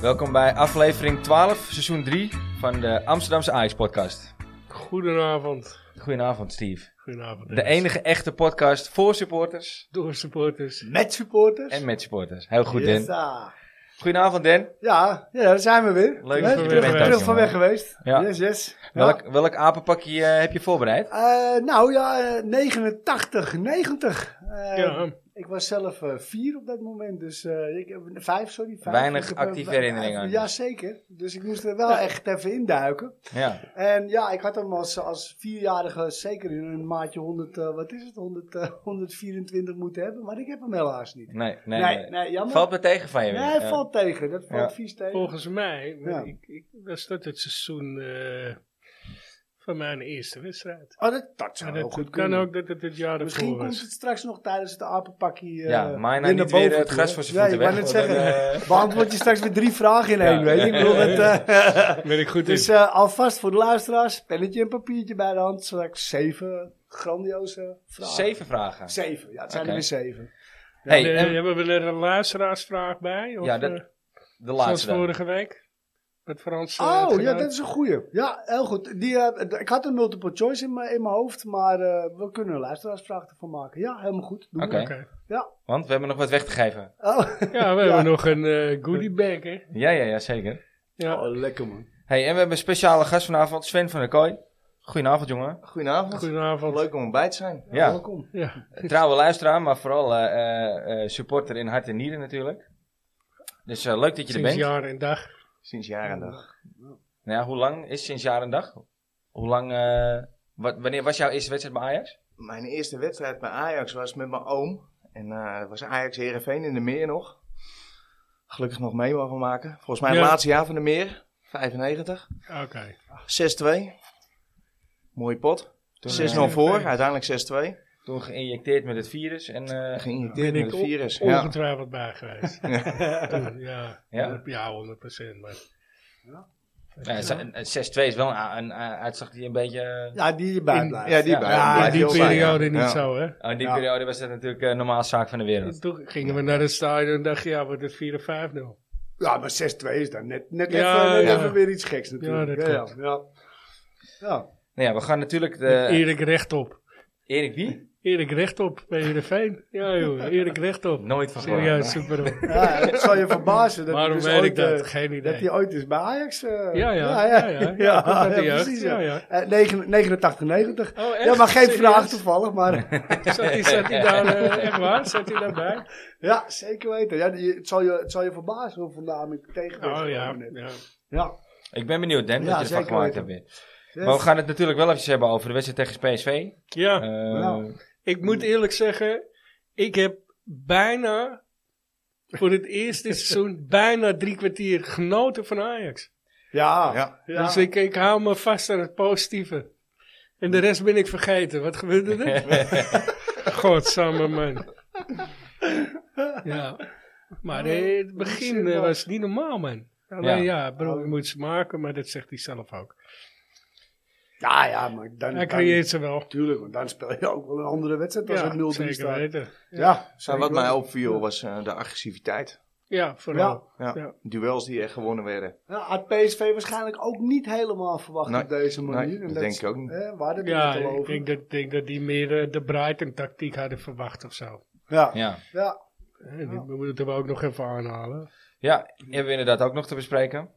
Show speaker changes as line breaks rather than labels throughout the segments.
Welkom bij aflevering 12, seizoen 3 van de Amsterdamse Ajax podcast.
Goedenavond.
Goedenavond Steve.
Goedenavond.
De enige echte podcast voor supporters
Door supporters.
Met supporters.
en met supporters. Heel goed
Yes,
Den.
ah.
Goedenavond Den.
Ja, ja, daar zijn we weer.
Leuk
Hè?
dat je er
bent,
terug, terug
jongen.
van weg geweest.
Ja.
Yes, yes. Ja.
Welk, welk apenpakje eh, heb je voorbereid?
Eh, nou ja, eh, 89, 90. Eh,
ja,
Ik was zelf eh, vier op dat moment, dus eh, ik, eh, vijf, sorry. Vijf.
Weinig
Ik heb,
actieve
eh,
herinneringen aan.
Ja, zeker. Dus ik moest er wel echt even induiken.
Ja.
En ja, ik had hem als, als vierjarige zeker in een maatje 100, eh, wat is het, 100, eh, 124 moeten hebben. Maar ik heb hem helaas niet.
Nee, nee, nee.
jammer.
Valt me tegen van je
nee,
weer.
hij
Ja.
valt tegen. Dat valt
Ja.
vies tegen.
volgens mij
Ja.
ik, ik, was dat het seizoen eh, van mijn eerste wedstrijd.
Oh, dat, dat zou
En
heel
het
goed
kan
kunnen.
ook dat het het jaar
Misschien
ervoor
komt
was.
het straks nog tijdens het apenpakje eh
Ja, maar nou
weer
niet
naar
weer
boven
het
toe,
gras
hè?
van zijn voeten
Ja,
weg.
ik wou
want
net
dan,
zeggen.
eh,
Beantwoord je straks weer drie vragen in één,
Ja.
weet je. Ik bedoel, het, eh,
Ben ik goed
dus
in.
eh, alvast voor de luisteraars, pennetje en papiertje bij de hand. Straks zeven grandioze vragen.
Zeven vragen.
Zeven, ja, het zijn
Oké.
er weer zeven.
Hey,
Eh,
en
hebben we er een luisteraarsvraag bij? Of,
Ja, dat-
eh,
de
zoals
laatste dan.
vorige week? Met Frans. eh, had
Oh, ja,
gedaan?
dat is een goeie. Ja, heel goed. Die, eh, d- ik had een multiple choice in mijn in mijn hoofd, maar eh, we kunnen een luisteraarsvraag ervan maken. Ja, helemaal goed. Doen we.
Oké.
Oké.
Ja.
Want we hebben nog wat weg te geven.
Oh.
Ja, we
Ja.
hebben nog een eh goodie bag, hè?
Ja, ja, ja, zeker.
Ja.
oh, lekker man.
Hey, en we hebben een speciale gast vanavond, Sven van der Kooi. Goedenavond, jongen.
Goedenavond.
Goedenavond.
Leuk om bij te zijn.
Ja.
Welkom.
Ja.
Trouwe luisteraar, maar vooral eh, eh, eh, supporter in hart en nieren natuurlijk. Dus eh, leuk dat je er
Sinds
bent.
jaar en dag.
Sinds jaar en dag.
Nou ja, hoe lang is sinds jaar en dag? Hoe lang, eh, wat, wanneer was jouw eerste wedstrijd bij Ajax?
Mijn eerste wedstrijd bij Ajax was met mijn oom. En eh, dat was Ajax Herenveen in de meer nog. Gelukkig nog mee mogen maken. Volgens mij het
Ja.
laatste jaar van de meer. 95.
Oké.
6-2. Mooie pot. 6-0
eh,
voor,
Heerenveen.
uiteindelijk 6-2.
Toen geïnjecteerd met het virus en... eh,
Geïnjecteerd
ben
met
ik
het virus.
on-
Ja.
ongetwijfeld bij geweest. Toen, ja,
Ja.
ja, 100 procent. Maar...
nou, het zijn- het 6-2 is wel een, a- een a- uitslag die een beetje... eh,
Ja, die hierbij
In-
blijft.
Ja, die
Ja,
bij.
ja,
in
blijft
die
heel bij,
periode
ja.
niet
Ja.
zo, hè?
eh, in die
Ja.
periode was dat natuurlijk eh, normaal zaak van de wereld.
Toen gingen we naar het stadion en dacht je, ja, wordt het 4-5-0.
Ja, maar 6-2 is dan net, net,
Ja,
even, net
ja.
even weer iets geks natuurlijk.
Ja, dat
Ja, ja,
klopt.
ja. Ja.
Nou ja, we gaan natuurlijk...
Met
Eh.
De,
Erik rechtop.
Erik wie?
Erik rechtop bij Heerenveen. Ja, joh, Erik rechtop.
Nooit van gehoord.
Serieus, super.
Ja, het zal je verbazen dat,
Waarom
hij dus
weet ik
ooit,
dat?
eh,
Geen
dat
idee.
hij ooit is bij Ajax. eh,
ja, ja, ja, ja. Ja, komt uit de
ja,
jeugd.
precies. Ja.
Ja, ja.
Eh, negen- 89, 90.
Oh, echt?
ja, maar geen
Serieus?
vraag toevallig, maar
Zat hij, zat hij daar, eh, echt waar? Zat hij daarbij?
ja, zeker weten. Ja, die- het, zal je, het zal je verbazen hoeveel namen ik tegen ben
Oh ja,
gekomen net.
ja.
ja.
Ik ben benieuwd, Dan,
Ja,
wat je ervan
zeker
gemaakt hebt
weten.
weer.
Yes.
Maar we gaan het natuurlijk wel even hebben over de wedstrijd tegen PSV.
ja.
Eh,
Nou.
Ik moet eerlijk zeggen, ik heb bijna voor het eerste seizoen bijna drie kwartier genoten van Ajax.
ja.
Ja.
Dus ik, ik hou me vast aan het positieve. En de rest ben ik vergeten. Wat gebeurde er? Godsamme man. Ja. Maar eh, het begin eh, was niet normaal man. Alleen ja, bro, je moet ze maken, maar dat zegt hij zelf ook.
ja, ja, maar dan,
Hij
dan,
creëert ze wel.
tuurlijk, want dan speel je ook wel een andere wedstrijd als
Ja,
het 0-3
zeker
staat.
weten.
Ja,
Maar
zeker
Nou, wat mij
weten.
opviel was eh, de agressiviteit.
Ja, vooral.
Ja.
Ja.
Duels die echt gewonnen werden.
Ja, had PSV waarschijnlijk ook niet helemaal verwacht
Nee,
op deze manier.
nee,
En
dat denk ik ook niet.
Hè, waar hebben we
Ja,
het al
ik
over?
denk dat, denk dat die meer eh, de Brighton-tactiek hadden verwacht of zo.
ja, ja.
ja.
Eh,
Oh.
die- We moeten we ook nog even aanhalen.
ja, die hebben we inderdaad ook nog te bespreken.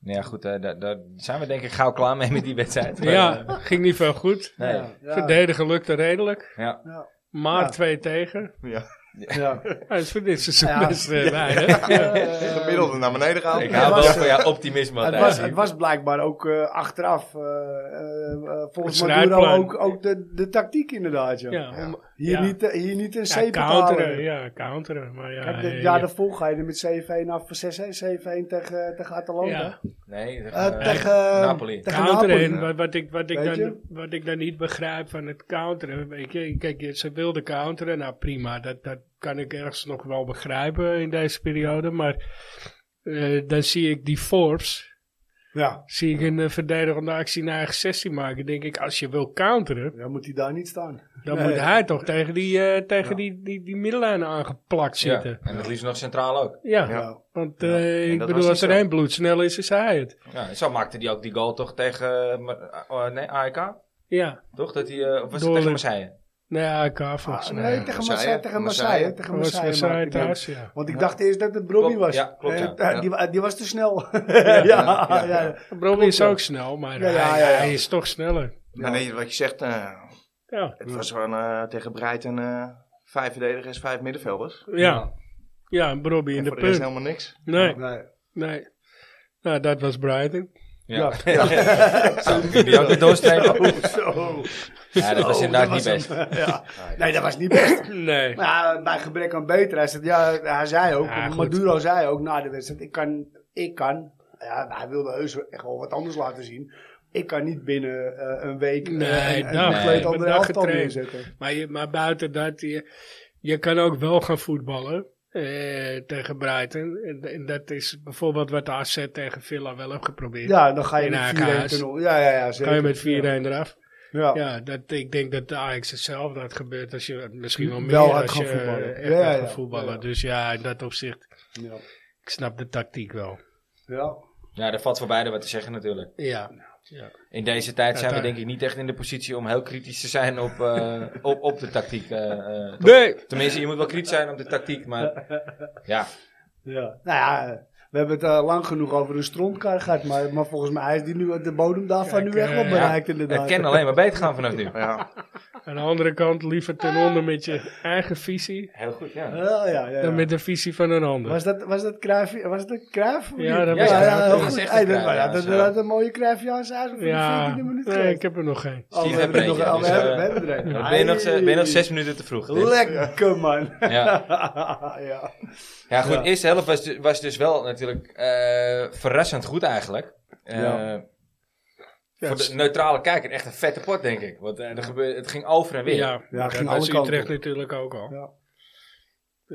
Nou ja, goed, eh, daar, daar zijn we denk ik gauw klaar mee met die wedstrijd. Maar,
ja,
eh,
ging niet veel goed.
nee.
ja, ja,
Verdedigen lukte redelijk.
Ja.
Ja.
Maar
Ja.
twee tegen.
Ja.
ja.
Hij is voor dit seizoen
Ja.
best eh, bij, hè?
Eh,
Gemiddelde naar beneden gehaald.
Ik
Ja,
hou
was,
wel
eh,
van jouw optimisme. eh,
Het
altijd.
was, het was blijkbaar ook eh, achteraf, eh, eh, eh, volgens
Het
Maduro,
strijdplan.
ook, ook de, de tactiek inderdaad. Ja.
Ja, om-
Hier,
ja.
Niet, eh, hier niet een
Ja,
zeep
counteren. Ja, counteren. Maar ja,
Kijk, de,
eh,
ja, daarvoor ga je er met 7-1 af voor 6-1, 7-1 tegen, eh, tegen Atalanta.
ja,
Nee, zeg,
Eh,
eh,
tegen Napoli.
Napoli.
Tegen
counteren. En
Napoli.
wat, wat, ik, wat, ik
Weet
dan,
je?
wat ik dan niet begrijp van het counteren. Weet je, kijk, ze wilden counteren. Nou, prima. Dat, dat kan ik ergens nog wel begrijpen in deze periode. Maar eh, dan zie ik die Forbes.
Ja.
Zie ik een eh, verdedigende actie naar eigen 16 maken, denk ik, als je wil counteren,
Dan moet hij daar niet staan.
dan
Nee.
moet hij toch tegen die, eh, tegen
Ja.
die, die, die middenlijn aangeplakt
Ja,
zitten.
en het liefst nog centraal ook.
Ja,
Ja.
want
Ja.
eh,
En
ik
dat
bedoel,
was
als
niet
er
zo.
één bloedsnel is, is hij het.
Ja, en zo maakte hij ook die goal toch tegen eh, Ma- eh, nee, AEK?
Ja,
Toch? Dat hij, eh, of was het
Doorliep.
tegen Marseille?
nee, elkaar volgens
Ah,
mij.
nee,
Marseille.
tegen Marseille. Tegen Marseille.
Marseille.
Maar
Tegen
was
Marseille.
Marseille
maakte hij
thuis, ja.
Want ik
Ja.
dacht eerst dat het Brobby
Klopt,
was.
ja, klopt, ja.
Eh, eh,
Ja.
Die, die was te snel. ja, ja,
ja,
ja,
ja.
Brobbey is
Klopt, ja.
ook snel, maar
Ja, ja,
hij,
ja, ja.
hij is toch sneller.
Maar nee, wat je zegt, eh,
Ja,
het was gewoon eh, tegen Breiten eh, vijf verdedigers, vijf middenvelders.
ja. ja en Brobbey in
En
de
voor de rest
punt.
helemaal niks.
Nee,
Nee.
nee. Nou, dat was Brighton.
Ja. Zo kun je die ook weer doorstrepen.
Oh, Zo.
Ja, dat was inderdaad
Zo, Oh,
niet
dat was
best.
hem. Ja. Nee, dat was niet best.
Nee.
Maar ja, bij gebrek aan beter. Hij, zegt, ja, hij zei ook,
Ja, goed.
Maduro zei ook na de wedstrijd, ik kan, ik kan, ja, hij wilde heus echt wel wat anders laten zien. Ik kan niet binnen eh, een week eh,
Nee,
een, een
nou,
compleet
nee.
andere
Dag
elftal
getraind.
neerzetten.
Maar, je, maar buiten dat, je, je kan ook wel gaan voetballen eh, tegen Brighton. En, en dat is bijvoorbeeld wat de AZ tegen Villa wel heeft geprobeerd.
Ja, dan ga je
In
met
haar
4-1
kaas.
tunnel. Ja, ja, ja,
Kan
zeker.
je met 4-1 eraf?
Ja. Ja.
Ja, dat, ik denk dat de Ajax hetzelfde had gebeurd als je misschien wel meer
Wel had
als
gaan
je
voetballen.
eh, echt
Ja,
had
ja,
gaan
ja.
voetballen.
Ja.
Dus ja, in dat opzicht,
Ja.
ik snap de tactiek wel.
Ja.
Ja, er valt voor beide wat te zeggen natuurlijk.
Ja, ja.
In deze tijd zijn we
daar-
denk ik niet echt in de positie om heel kritisch te zijn op, eh, op, op de tactiek. eh, eh, toch?
Nee,
Tenminste, je moet wel kritisch zijn op de tactiek, maar ja,
Nou ja, we hebben het eh, lang genoeg over een strontkar gehad, maar, maar volgens mij is die nu, de bodem daarvan
Kijk,
nu echt wel
eh,
bereikt inderdaad.
het kan alleen maar beter gaan vanaf nu.
Ja,
aan de andere kant liever ten onder met je eigen visie
Heel goed, ja.
Ja, ja, ja, ja.
dan met de visie van een ander.
Was dat, was dat Cruijff? Was dat Cruijff? of
Ja,
niet?
dat
was
ja,
Cruijff.
ja, heel
Dat
goed.
is echt
Hey,
een
dat, ja,
Cruijffjaars,
dat,
ja.
dat had een mooie Cruijffjaarsjaar voor
ja,
de 14e minuut
nee, ik
geweest.
heb er nog geen.
Oh, we
Steve
hebben er nog-
Hebreetje,
oh,
dus,
we hebben-
eh,
we hebben er een.
Ben je, nog, eh, ben je nog zes minuten te vroeg? dit?
Lekker man.
Ja.
ja.
Ja, goed.
Ja.
Eerste helft was, du- was dus wel natuurlijk eh, verrassend goed eigenlijk. Eh,
Ja.
Voor de neutrale kijker echt een vette pot, denk ik. Want eh, er gebeurde, het ging over en weer. Ja,
Ja, dat
ging
was
alle kanten
Utrecht
op.
natuurlijk ook al.
Ja.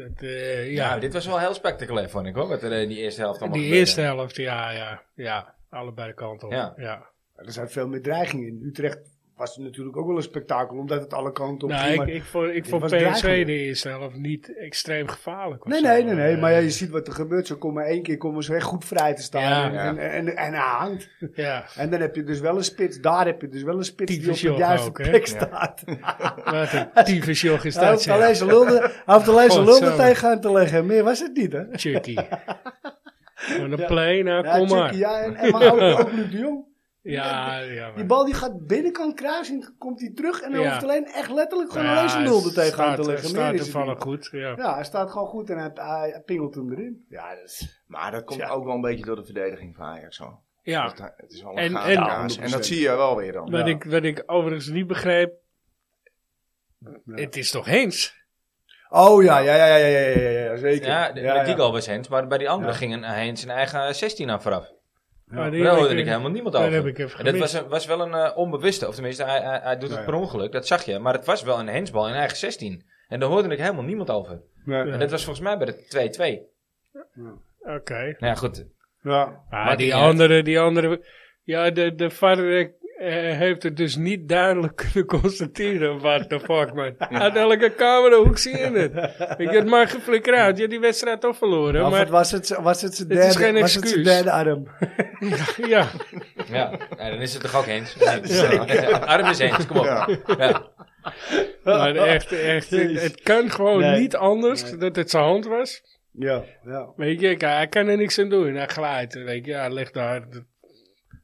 Dat, eh, ja,
Nou, dit was wel heel spectaculair, vond ik hoor. Wat er eh, in die eerste helft allemaal
die
gebeurde.
eerste helft, ja, ja, ja. Allebei de kanten op.
Ja.
Ja. ja.
Er zat veel meer dreiging in. Utrecht was natuurlijk ook wel een spektakel, omdat het alle kanten op
Nou,
ging.
ik,
maar-
ik vond, ik
dit
vond
was
PSV
dreigend.
de eerste helft niet extreem gevaarlijk. of
Nee,
zo.
nee, nee, nee.
Eh,
Maar ja, je ziet wat er gebeurt. Ze komen één keer komen ze echt goed vrij te staan.
Ja.
en, En, en, en hij hangt.
Ja,
En dan heb je dus wel een spits. Daar heb je dus wel een spits die op
Typisch
de
Jochem
juiste
ook, hè?
plek
Ja.
staat.
wat een tyfus joch is
Hij
dat,
heeft
ja.
alleen zijn lulde, hij heeft alleen zijn
Goh,
lulde
zo.
tegen aan te leggen. Meer was het niet, hè?
Chucky. Gewoon een play, nou,
Ja,
kom
Chucky,
maar.
ja, en, en maar ook, ook Luc de Jong.
Ja, ja.
Die
maar-
bal die gaat binnenkant kruising, komt hij terug. En hij
Ja.
hoeft alleen echt letterlijk gewoon
Nou
alleen
ja,
zijn lulde
het
tegen aan
staat-
te leggen.
Het
Meer
staat
is het
toevallig
niet.
goed, ja.
Ja, hij staat gewoon goed en hij, hij pingelt hem erin.
ja dat is- maar dat komt
Ja.
ook wel een beetje door de verdediging van Ajax. Zo.
Ja,
Dat- eh, Het is wel
En-
een
en-
en, kaas. En dat zie je wel weer dan.
wat ik, wat ik overigens niet begrijp, het is toch Heens?
Oh ja, ja, ja, ja, ja, ja, ja, ja, zeker.
Ja, de-
Ja,
met die
ja.
goal was Hens, maar bij die andere
Ja.
ging een, Hens zijn eigen 16 aan vooraf.
Maar die
Maar daar
heb
hoorde
ik-
ik helemaal niemand
daar
over.
heb ik even
en dat was,
gemist.
een, was wel een eh, onbewuste, of tenminste, hij, hij, hij doet
Ja,
het
ja.
per ongeluk, dat zag je. Maar het was wel een hensbal in eigen 16. En daar hoorde ik helemaal niemand over.
Ja,
En dat was volgens mij bij de 2-2.
Oké.
Nou ja, goed.
ja.
Ah,
Maakt
die
niet uit.
andere, die andere. Ja, de, de VAR eh, heeft het dus niet duidelijk kunnen constateren. What the fuck, man. Uit elke camerahoek zie je het. Ik heb maar geflikker uit. Je hebt die wedstrijd toch verloren.
Of
maar
het was het, was het zijn
Het
derde,
is geen
was het zijn
excuus.
derde arm.
ja,
Ja, ja, dan is het toch ook eens. Ja. Arm is eens, kom op. Ja.
maar echt, echt. Het,
Jezus.
het kan gewoon
Nee.
niet anders dat het zijn hand was.
Ja, ja.
Weet je, kijk, hij kan er niks aan doen. Hij glijdt. Weet je, hij ligt daar.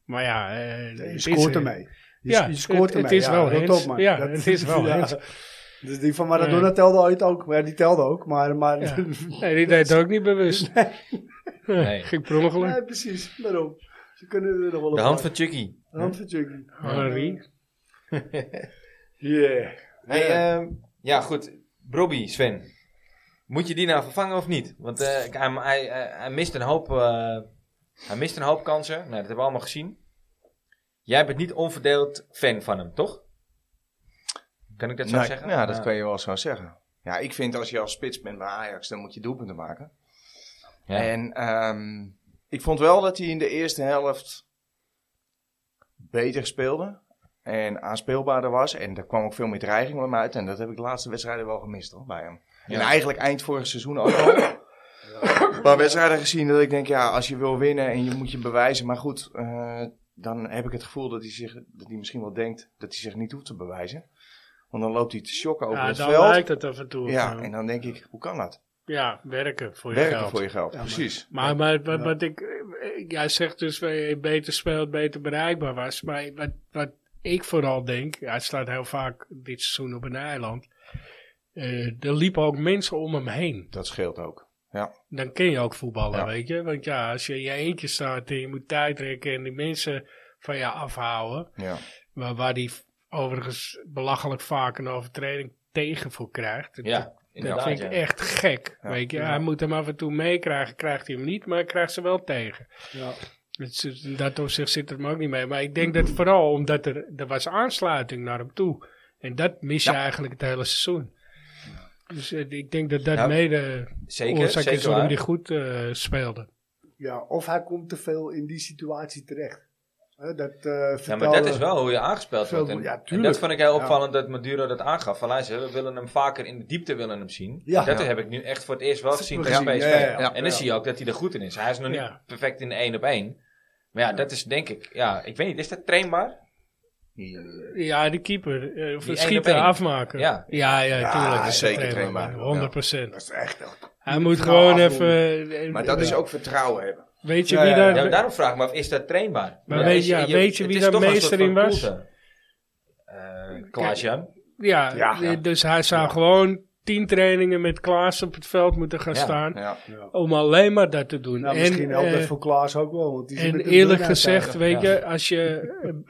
Maar ja, eh, het
Je
is
scoort
er.
ermee. Je,
Ja,
je scoort
het-
ermee.
het is
ja,
wel
rot
Hens.
op, man.
Ja, het is wel
ja.
Hens.
Dus die van Maradona telde ooit ook. Ja, die telde ook, maar... maar
Ja. Nee, die deed het ook niet bewust.
Nee.
Ging per ongeluk.
nee, precies. Daarom. Ze kunnen er nog wel op
De hand
pakken.
van Chucky.
De hand van Chucky.
Henri.
Yeah.
Hey, ehm, ja, goed. Robbie, Sven. Moet je die nou vervangen of niet? Want eh, ik- hij, hij, hij- hij mist een hoop, eh, hij mist een hoop kansen. Nou, dat hebben we allemaal gezien. Jij bent niet onverdeeld fan van hem, toch? Kan ik dat zo
Nee,
zeggen?
Ja, dat
Ah,
kan je wel zo zeggen. Ja, ik vind als je als spits bent bij Ajax, dan moet je doelpunten maken.
ja.
En ehm, ik vond wel dat hij in de eerste helft beter speelde en aanspeelbaarder was. En er kwam ook veel meer dreiging bij hem uit. En dat heb ik de laatste wedstrijden wel gemist hoor, bij hem. En eigenlijk eind vorig seizoen ook al. Een paar wedstrijden gezien dat ik denk, ja, als je wil winnen en je moet je bewijzen. Maar goed, eh, dan heb ik het gevoel dat hij, zich, dat hij misschien wel denkt dat hij zich niet hoeft te bewijzen. Want dan loopt hij te shocken over
Ja,
het
dan
veld.
lijkt het af en toe.
Ja,
Ja,
en dan denk ik, hoe kan dat?
ja werken voor je
Werken
geld.
voor je geld.
Ja, maar-
Precies.
Maar, maar wat, wat ik, eh, jij zegt dus dat je beter speelt, beter bereikbaar was. Maar wat, wat ik vooral denk, ja, hij staat heel vaak dit seizoen op een eiland. Eh, er liepen ook mensen om hem heen.
Dat scheelt ook.
Dan kun je ook voetballen,
Ja.
weet je. Want ja, als je in je eentje staat en je moet tijd rekken en die mensen van je afhouden.
Ja.
Waar, waar die v- overigens belachelijk vaak een overtreding tegen voor krijgt. Dat-
Ja,
dat
inderdaad.
vind ik
ja.
echt gek.
Ja.
Weet je,
Ja.
hij moet hem af en toe meekrijgen. Krijgt hij hem niet, maar hij krijgt ze wel tegen.
Ja.
Het is- In dat opzicht zit het me ook niet mee. Maar ik denk dat vooral omdat er, er was aansluiting naar hem toe. En dat mis je eigenlijk het hele seizoen. Dus eh, ik denk dat dat
Nou,
mede
Zeker,
oorzaak is
zeker
waarom
waar.
hij goed eh, speelde.
ja, of hij komt te veel in die situatie terecht. Hè, dat eh
Ja, maar dat
vertelde-
is wel hoe je aangespeeld
Zo
wordt. En,
moet- ja,
en
tuurlijk.
dat vond ik heel
Ja.
opvallend dat Maduro dat aangaf. Van luister, we willen hem vaker in de diepte willen hem zien.
Ja.
dat
Ja.
heb ik nu echt voor het eerst wel gezien bij
Gezien,
PSV.
ja, ja, ja.
En dan
Ja.
zie je ook dat hij er goed in is. Hij is nog
Ja.
niet perfect in de 1 op 1. Maar ja, dat is denk ik... Ja, ik weet niet, is dat trainbaar?
Ja, de keeper. eh, of
Die
het
één
schieten,
op één.
afmaken.
Ja.
ja, ja,
Ja,
tuurlijk.
dat is zeker trainbaar.
100 procent.
Dat is echt
Hij moet
Nou,
gewoon
afdoen.
even... eh,
Maar dat is ook vertrouwen hebben.
Weet je
Ja,
wie
ja,
daar...
Ja, daarom vraag ik me af, is dat trainbaar?
Maar weet- ja, weet je wie daar meester in was?
Eh, Klaas-Jan.
Ja,
Ja, ja.
eh, dus hij zou gewoon tien trainingen met Klaas op het veld moeten gaan
Ja,
staan.
Ja.
Om alleen maar dat te doen.
Nou,
En,
misschien helpt dat
eh,
voor Klaas ook wel. Want die zit
en
met een
eerlijk
burn-out
gezegd, weet
Ja.
je, als je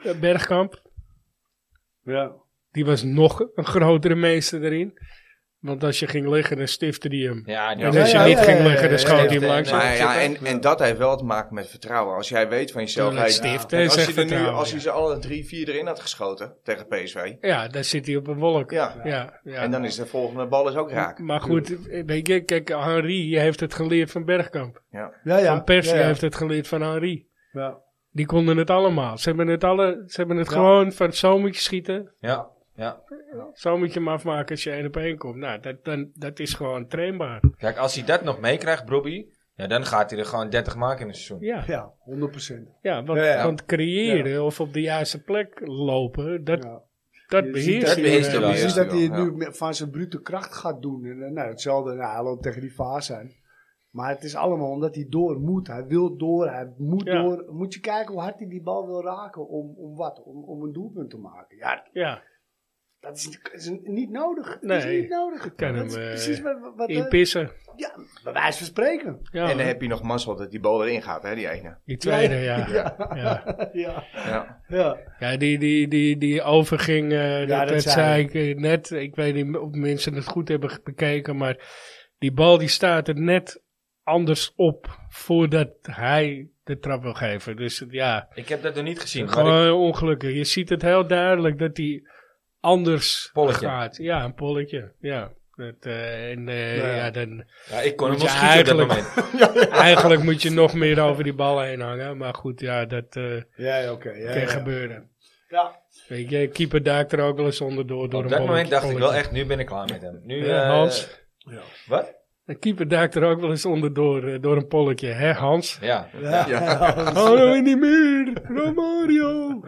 eh, Bergkamp,
eigenlijk. Ja.
die was nog een grotere meester erin. Want als je ging liggen, dan stifte die hem.
Ja, die
en
was-
als je
ja,
niet
ja,
ging
ja,
liggen,
ja,
dan
ja,
schoot
ja,
hij hem
ja,
langs.
ja,
Maar ja, en,
Ja.
en dat heeft wel te maken met vertrouwen. Als jij weet van jezelf...
Tuurlijk,
hey,
stift,
en
hè,
als,
zegt
hij er nu,
vertrouwen,
als hij
ja.
ze alle drie, vier erin had geschoten tegen PSV...
Ja, daar zit hij op een wolk.
Ja.
ja, ja.
En dan is de volgende bal is ook raak.
maar goed, eh, weet je, kijk, Henri heeft het geleerd van Bergkamp.
Ja.
Ja, ja.
van Persie
ja, ja.
heeft het geleerd van Henri.
Ja.
Die konden het allemaal. Ze hebben het, alle, ze hebben het
Ja.
gewoon van zo moet je schieten.
Ja, ja.
Zo moet je hem afmaken als je één op één komt. Nou, dat, dan, dat is gewoon trainbaar.
Kijk, als hij dat nog meekrijgt, Brobbey, ja, dan gaat hij er gewoon 30 maken in een seizoen.
Ja, ja.
Ja, 100 procent.
want,
Ja, ja.
want creëren of op de juiste plek lopen, dat,
Ja.
dat
Je
beheerst
ziet
dat
hij
beheerst
wel.
hij
Je
wel,
ja.
ziet dat hij het
Ja.
nu met- van zijn brute kracht gaat doen. En, eh, nou, hetzelfde, nou, hij loopt tegen die fase aan. Maar het is allemaal omdat hij door moet. Hij wil door, hij moet
Ja.
door. Moet je kijken hoe hard hij die bal wil raken om, om wat? Om, om een doelpunt te maken. Ja, dat is, is een- niet nodig. Dat
Nee.
is niet nodig.
kan
dat
hem,
is
eh,
precies wat, wat, wat, eh,
Inpissen.
ja, bij wijze van spreken.
Ja,
En dan heb je nog mazzel dat die bal erin gaat, hè, die ene.
die tweede, ja. Ja, ja.
ja,
Ja.
ja.
die, die, die, die overging, eh,
Ja,
dat,
dat
dat
zei
zei ik eh, net. Ik weet niet of mensen het goed hebben ge- bekeken, maar die bal die staat er net anders op voordat hij de trap wil geven. Dus ja,
Ik heb dat nog niet gezien. maar ik-
Gewoon ongelukkig. Je ziet het heel duidelijk dat hij anders
Polletje.
gaat. Ja, een polletje. Ja. Dat, eh, en eh,
Ja.
ja. dan,
Nou Ja, ik kon hem
Moet
wel
je
schieten op dat
eigenlijk-
moment.
eigenlijk moet je nog meer over die ballen heen hangen. Maar goed, ja, dat eh,
Ja, ja, oké. ja,
kan
ja.
gebeuren.
Ja.
Weet je, keeper duikt er ook wel eens onderdoor door
Op
een
dat moment
bolletje-
dacht ik wel
bolletje.
echt, nu ben ik klaar met hem. Nu,
Ja,
eh,
Hans.
Ja.
Wat?
De keeper duikt er ook wel eens onderdoor eh, door een polletje. Hè, Hans?
Ja.
Hallo in die muur! Romario!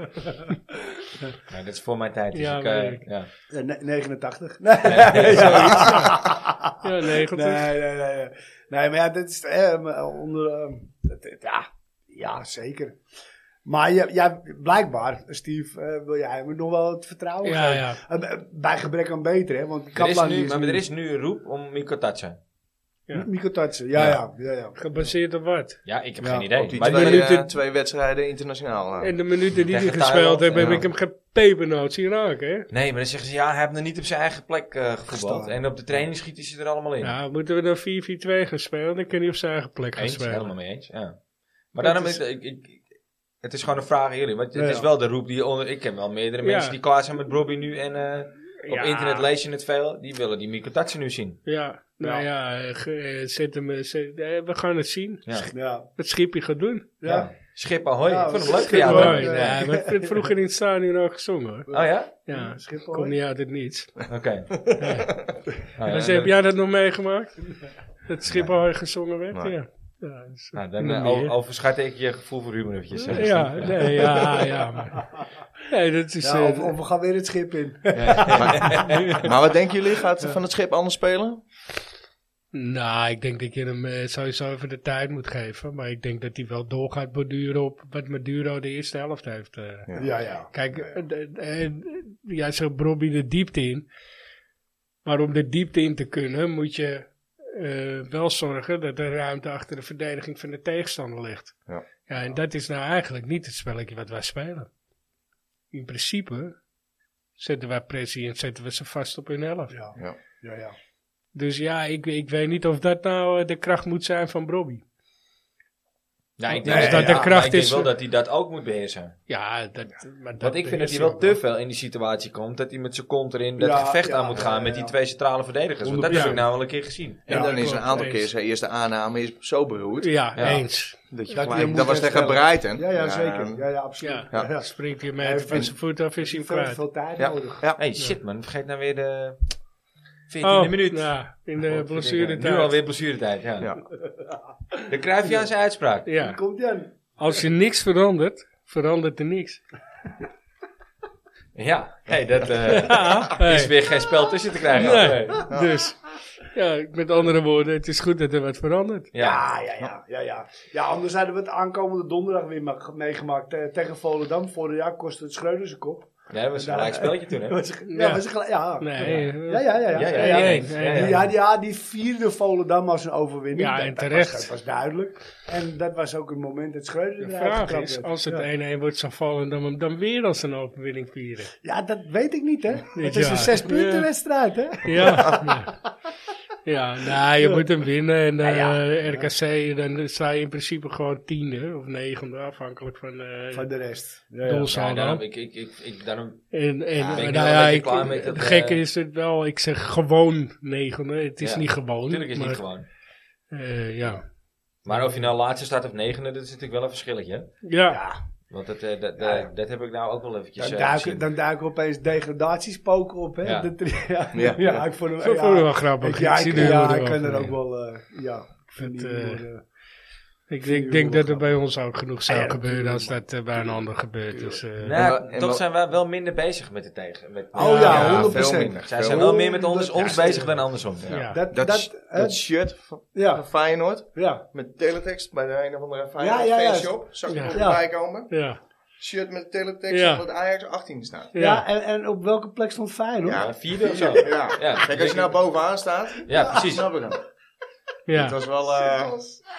Ja, dat is voor mijn tijd. Dus
Ja,
ik, eh,
weet ik.
ja.
Eh, ne- 89. Nee,
Ja, 90.
nee, nee, nee, nee. Nee, maar ja, dit is eh, maar onder. eh, het- het- ja, ja, zeker. Maar ja, ja, blijkbaar, Steve, eh, wil jij me nog wel het vertrouwen
Ja,
geven?
ja.
Eh, eh, Bij gebrek aan beter, hè? Want
Er is
Kaplan
nu, maar er is nu een roep om Mikko Tatsen.
Ja.
Mikotatsen, ja, ja, ja, ja.
Gebaseerd op wat?
Ja, ik heb
Ja,
geen
Op
idee.
die
Maar
twee,
die-
minuten-
eh, twee wedstrijden internationaal. eh.
En de minuten die
Tegen
hij gespeeld
Thailand,
heeft, heb
ja.
ik hem geen pepernoot zien raken. nou Hè?
Nee, maar dan zeggen ze, ja, hij heeft nog niet op zijn eigen plek eh gevoetbald.
Gestaan.
En op de training schieten ze er allemaal in.
Nou, moeten we dan 4-4-2 gaan spelen, dan kan hij op zijn eigen plek gaan
Eens, helemaal
spelen.
mee eens, ja. Maar daarom
is-
is... Ik, ik, het is gewoon een vraag aan jullie. Want het
Ja,
is
ja.
wel de roep die onder... Ik ken wel meerdere mensen
Ja.
die klaar zijn met Bobby nu. En eh, op
Ja.
internet lees je het veel. Die willen die Mikko Tatsen nu zien.
Ja, nou ja, eh, ge- eh, zet hem, eh, zet- eh, we gaan het zien.
Ja.
Ja,
Wat Schiepje gaat doen.
ja.
Schip ahoy.
Ja,
ik vond hem leuk voor
Schip
jou.
ahoy.
hoor.
Mooi. Ja, maar ik heb vroeger in het stadion al gezongen hoor.
Oh ja?
Ja,
Schiphol.
komt niet uit het niets.
Oké. Oh, ja,
Dus
dan-
heb jij dat nog meegemaakt? Dat Schiphol gezongen werd?
Nee.
Ja. Ja, dus-
Nou, dan
nog
eh,
meer.
al, overschat ik je gevoel voor humor eventjes. eh,
ja,
Steve.
nee, ja, ja. Maar, nee, dat is...
Ja,
eh,
of, of we gaan weer het schip in.
Maar wat denken jullie? Gaat van het schip anders spelen?
Nou, ik denk dat je hem eh, sowieso even de tijd moet geven. Maar ik denk dat hij wel door gaat borduren op wat Maduro de eerste helft heeft. eh.
Ja, ja.
Kijk, eh, d- eh, jij zegt Bobby de diepte in. Maar om de diepte in te kunnen, moet je eh, wel zorgen dat er ruimte achter de verdediging van de tegenstander ligt.
Ja.
ja, en dat is nou eigenlijk niet het spelletje wat wij spelen. In principe zetten wij pressie en zetten we ze vast op hun helft.
Ja,
Ja.
ja, ja.
Dus ja, ik, ik weet niet of dat nou eh, de kracht moet zijn van Bobby.
Ja, ik
Nee,
denk
dus dat
dat
de kracht
ik denk
is-
wel dat hij dat ook moet beheersen.
Ja, dat, maar dat
Want ik vind dat hij
is
wel
ook
te veel in die situatie komt. Dat hij met zijn kont erin dat
Ja,
gevecht
ja,
aan moet gaan
ja,
met die
ja.
twee centrale verdedigers. Want dat heb ik nou wel een keer gezien.
En
Ja,
dan is een
klopt,
aantal
eens.
keer zijn eerste aanname is zo beroerd.
Ja,
Ja.
eens.
Dat, je
Dat
gelijk-
je moet
dat was tegen ehm,
herstellen.
Breiten.
Ja, ja, zeker. Ja, ja, absoluut.
Ja.
Ja.
Ja.
Springt je
Hij
mee
heeft
van
een-
zijn voet af, is hij hem
Veel,
kwijt.
veel tijd
Ja.
nodig.
Ja.
hey, shit man, vergeet nou weer de 14e
Oh,
minuut. eh,
Ja, in
Oh,
de blessuretijd.
Nu alweer blessuretijd, ja.
Ja.
De Cruyffiaanse uitspraak.
Hier
Ja.
Komt Jan.
Als je niks verandert, verandert er niks.
Ja, hey, dat eh,
Ja,
is weer geen spel tussen te krijgen.
Nee.
Nee.
Dus, ja, met andere woorden, het is goed dat er wat verandert.
Ja.
Ja, ja, ja, ja, ja. Ja, anders hadden we het aankomende donderdag weer ma- meegemaakt eh, tegen Volendam. Vorig jaar kostte het Schreuder zijn kop.
Nee, dat was een
Ja,
gelijk spelletje toen, hè?
Ja, was-
Ja.
ja, was gelijk- ja.
Nee. eh,
Ja, ja, ja. ja, ja, ja.
nee,
ja.
nee,
Die- Ja, die, ja, die vierde Volendam als een overwinning.
Ja,
Dat-
en
dat was-
terecht.
Dat was, duidelijk. En dat was ook het moment dat Schreuder
De
eruit
vraag
getrapt
is,
werd.
als het
ja.
1-1 wordt, zou vallen dan hem dan weer als een overwinning vieren.
ja, dat weet ik niet, hè. Het is
jaar.
een zes punten
Ja.
wedstrijd, hè.
Ja. ja. Ja, nou, je moet hem winnen. En eh,
Ja,
RKC, dan sta je in principe gewoon tiende of negende, afhankelijk van, eh
Van de rest. Ja, ja.
Nou,
doelsaldo.
daarom, ik, ik, ik, ik, daarom,
En, en
Ja, ben ik
nou
wel
ja,
een beetje
ik,
klaar met dat,
het gekke
eh,
is het wel, ik zeg gewoon negende. Het is
Ja,
niet gewoon.
natuurlijk is het niet
maar,
gewoon.
eh, ja.
Maar of je nou laatste staat of negende, dat is natuurlijk wel een verschilletje. hè?
Ja,
Ja,
Want dat, eh, dat,
Ja.
eh, dat heb ik nou ook wel eventjes
dan,
eh,
duiken,
gezien.
dan duiken opeens degradatiespoken op, hè.
Ja.
De tri- ja.
Ja.
Ja. ik vond hem...
dat vond ik wel grappig.
Ik, nou ja,
zie
ik,
de humor
ja,
wel
ik kan er
van.
ook wel... eh, ja, ik vind
Het,
die
eh,
humor, eh,
Ik, denk-
vind die
denk
humor
dat er bij ons ook genoeg zou
Ah, ja,
gebeuren als
natuurlijk,
dat eh, bij een ander gebeurt. Dus, eh,
Nou,
En wa- en
toch
wa-
zijn wij wel minder bezig met de tegen. Met,
Oh ja,
Ja,
100%.
veel minder.
Zij
veel
zijn
minder.
wel meer met ons,
Ja,
ons bezig dan andersom.
ja.
Ja.
Dat, dat,
Dat, dat,
hè,
shirt van
ja,
Feyenoord
ja.
met teletext bij de een of andere Feyenoord
ja, ja.
fanshop. Zag ik
Ja.
nog
Ja.
voorbij komen.
ja.
Shirt met teletext
Ja.
op dat Ajax 18 staat.
Ja,
Ja.
en, en op welke plek stond Feyenoord?
Ja, vierde of zo.
Ja.
Ja,
Kijk, als je nou bovenaan staat,
Ja, precies.
snap ik hem. Het
Ja.
was wel... eh,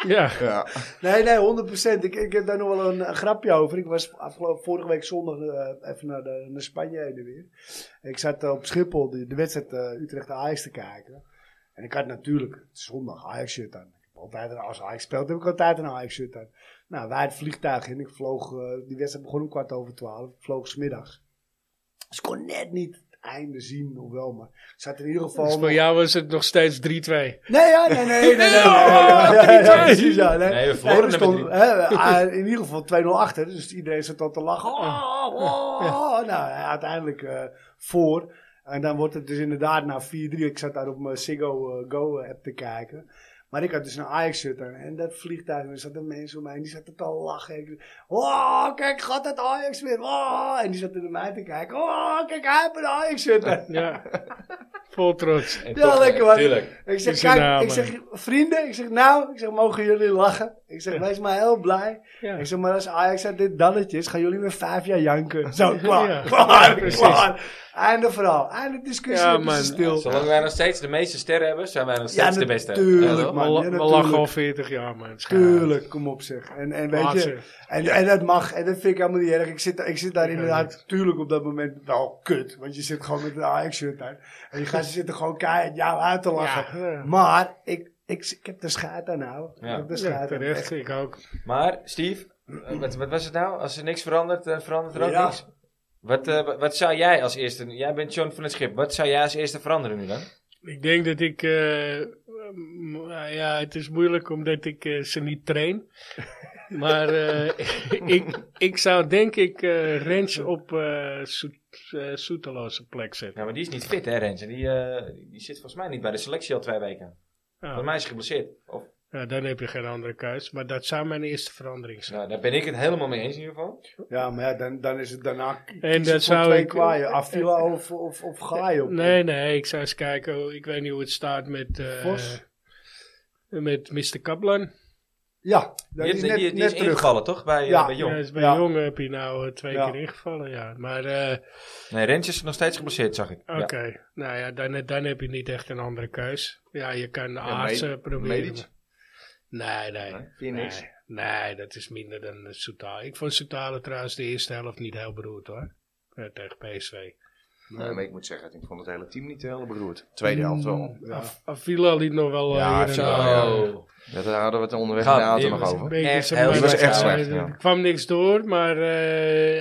Ja.
ja.
Nee, nee, 100%. Ik, ik heb daar nog wel een, eh, grapje over. Ik was afgelopen, vorige week zondag eh, even naar, de, naar Spanje heen en weer. Ik zat eh, op Schiphol de, de wedstrijd eh, Utrecht-Ajax te kijken. En ik had natuurlijk het is zondag Ajax-shirt aan. Ik heb altijd een, als Ajax speelt heb ik altijd een Ajax-shirt aan. Nou, wij het vliegtuig in. Ik vloog, eh, die wedstrijd begon om kwart over twaalf. Ik vloog smiddags. Dus ik kon net niet het einde zien, of wel, maar ik zat in ieder geval...
Dus voor
nog-
jou was het nog steeds 3-2.
Nee, ja, nee, nee, nee, nee, nee, nee,
Ja,
nee, nee,
ja,
ja, precies, ja, nee.
Nee, we verloren
we
er met
stonden, hè, we- ah, in ieder geval 2-0 achter, dus iedereen zat al te lachen. Oh, oh, oh. Nou, ja, uiteindelijk eh, voor. En dan wordt het dus inderdaad na 4-3. Ik zat daar op mijn Ziggo eh, Go app te kijken. Maar ik had dus een Ajax-shirt aan. En dat vliegtuig, en er zaten mensen om mij heen, die zaten te lachen. Ik- Oh, kijk, gaat dat Ajax weer? Oh, en die zaten naar mij te kijken. Oh, kijk, hij heeft een Ajax-shirt aan.
Ja. Vol trots.
En
Ja,
toch,
lekker
eh,
man.
Tuurlijk.
Ik zeg,
Is er
kijk,
nou,
ik
man?
zeg, vrienden, ik zeg, nou, ik zeg, mogen jullie lachen? Ik zeg, wees maar heel blij.
Ja.
Ik zeg, maar als Ajax uit dit dalletje is, gaan jullie weer vijf jaar janken. Zo, klaar,
Ja.
klaar,
Precies.
klaar. Einde verhaal, einde discussie,
Ja,
ja, man.
man.
stil.
Zolang wij nog steeds de meeste sterren hebben, zijn wij nog
Ja,
steeds de beste.
natuurlijk,
Ja, toch?
man.
we, la-
ja,
we lachen al
natuurlijk.
40 jaar, man. Tuurlijk.
Tuurlijk, kom op zeg. En, en weet
Laat
je,
ze.
en, en dat mag, en dat vind ik helemaal niet erg. Ik zit, ik zit daar
Ja,
inderdaad, tuurlijk op dat moment wel kut. Want je zit gewoon met een Ajax-shirt aan. En je gaat zitten gewoon keihard jou uit te lachen.
Ja.
Maar ik, ik, ik heb de schaat aan nou.
Ja.
Ik heb de schaat
Ja,
aan.
terecht. Ik ook.
Maar, Steve, eh, wat, wat was het nou? Als er niks verandert, eh, verandert er ook
Ja.
niks. Wat, eh, wat- wat zou jij als eerste... Jij bent John van het Schip. Wat zou jij als eerste veranderen nu dan?
Ik denk dat ik. eh, m- nou ja, het is moeilijk omdat ik eh, ze niet eh, train. Maar eh, ik, ik zou denk ik eh Rens op eh Soet, eh, Soetelo's plek zetten.
Ja, Nou, maar die is niet fit, hè, Rensen? Die, eh, die zit volgens mij niet bij de selectie al twee weken. Volgens
Ja,
mij is hij geblesseerd. Of,
nou, dan heb je geen andere keus. Maar dat zou mijn eerste verandering zijn.
nou, daar ben ik het helemaal mee eens in ieder geval.
Ja, maar ja, dan, dan is het daarna kiezen
En dat
voor
zou
twee
ik-
kwaaien. Avila of, of, of Gaio.
Nee, nee, ik zou eens kijken. hoe- Ik weet niet hoe het staat met, eh,
Vos?
met Mr. Kaplan.
Ja,
Die,
dat
heeft-
is net,
die, die
net
is
terug.
ingevallen, toch? Bij, eh,
Ja.
bij
Ja,
Jong.
is bij
Ja.
Jong heb je nou eh, twee
Ja.
keer ingevallen, ja. Maar eh,
Nee, Rens is nog steeds geblesseerd, zag ik.
oké,
Ja.
nou ja, dan, dan heb je niet echt een andere keus. Ja, je kan de artsen
Med-
proberen.
Medic?
maar- Nee, nee.
Nee, vind je
nee.
niks?
Nee, dat is minder dan eh, Soutale. Ik vond Soutale trouwens de eerste helft niet heel beroerd hoor. Eh, tegen PSV.
Nee, maar ik moet zeggen, ik vond het hele team niet heel beroerd. Tweede helft wel.
Mm, Af- Avila liet nog wel... eh,
Ja,
hier en
zo,
daar,
ja.
eh,
Ja, daar hadden we het onderweg
Gaat
in de auto
niet,
nog
was
Een
over.
beetje
Echt
zo'n
heel
beetje-
slecht. Die was echt
ja,
slecht,
Er
ja.
kwam niks door, maar eh,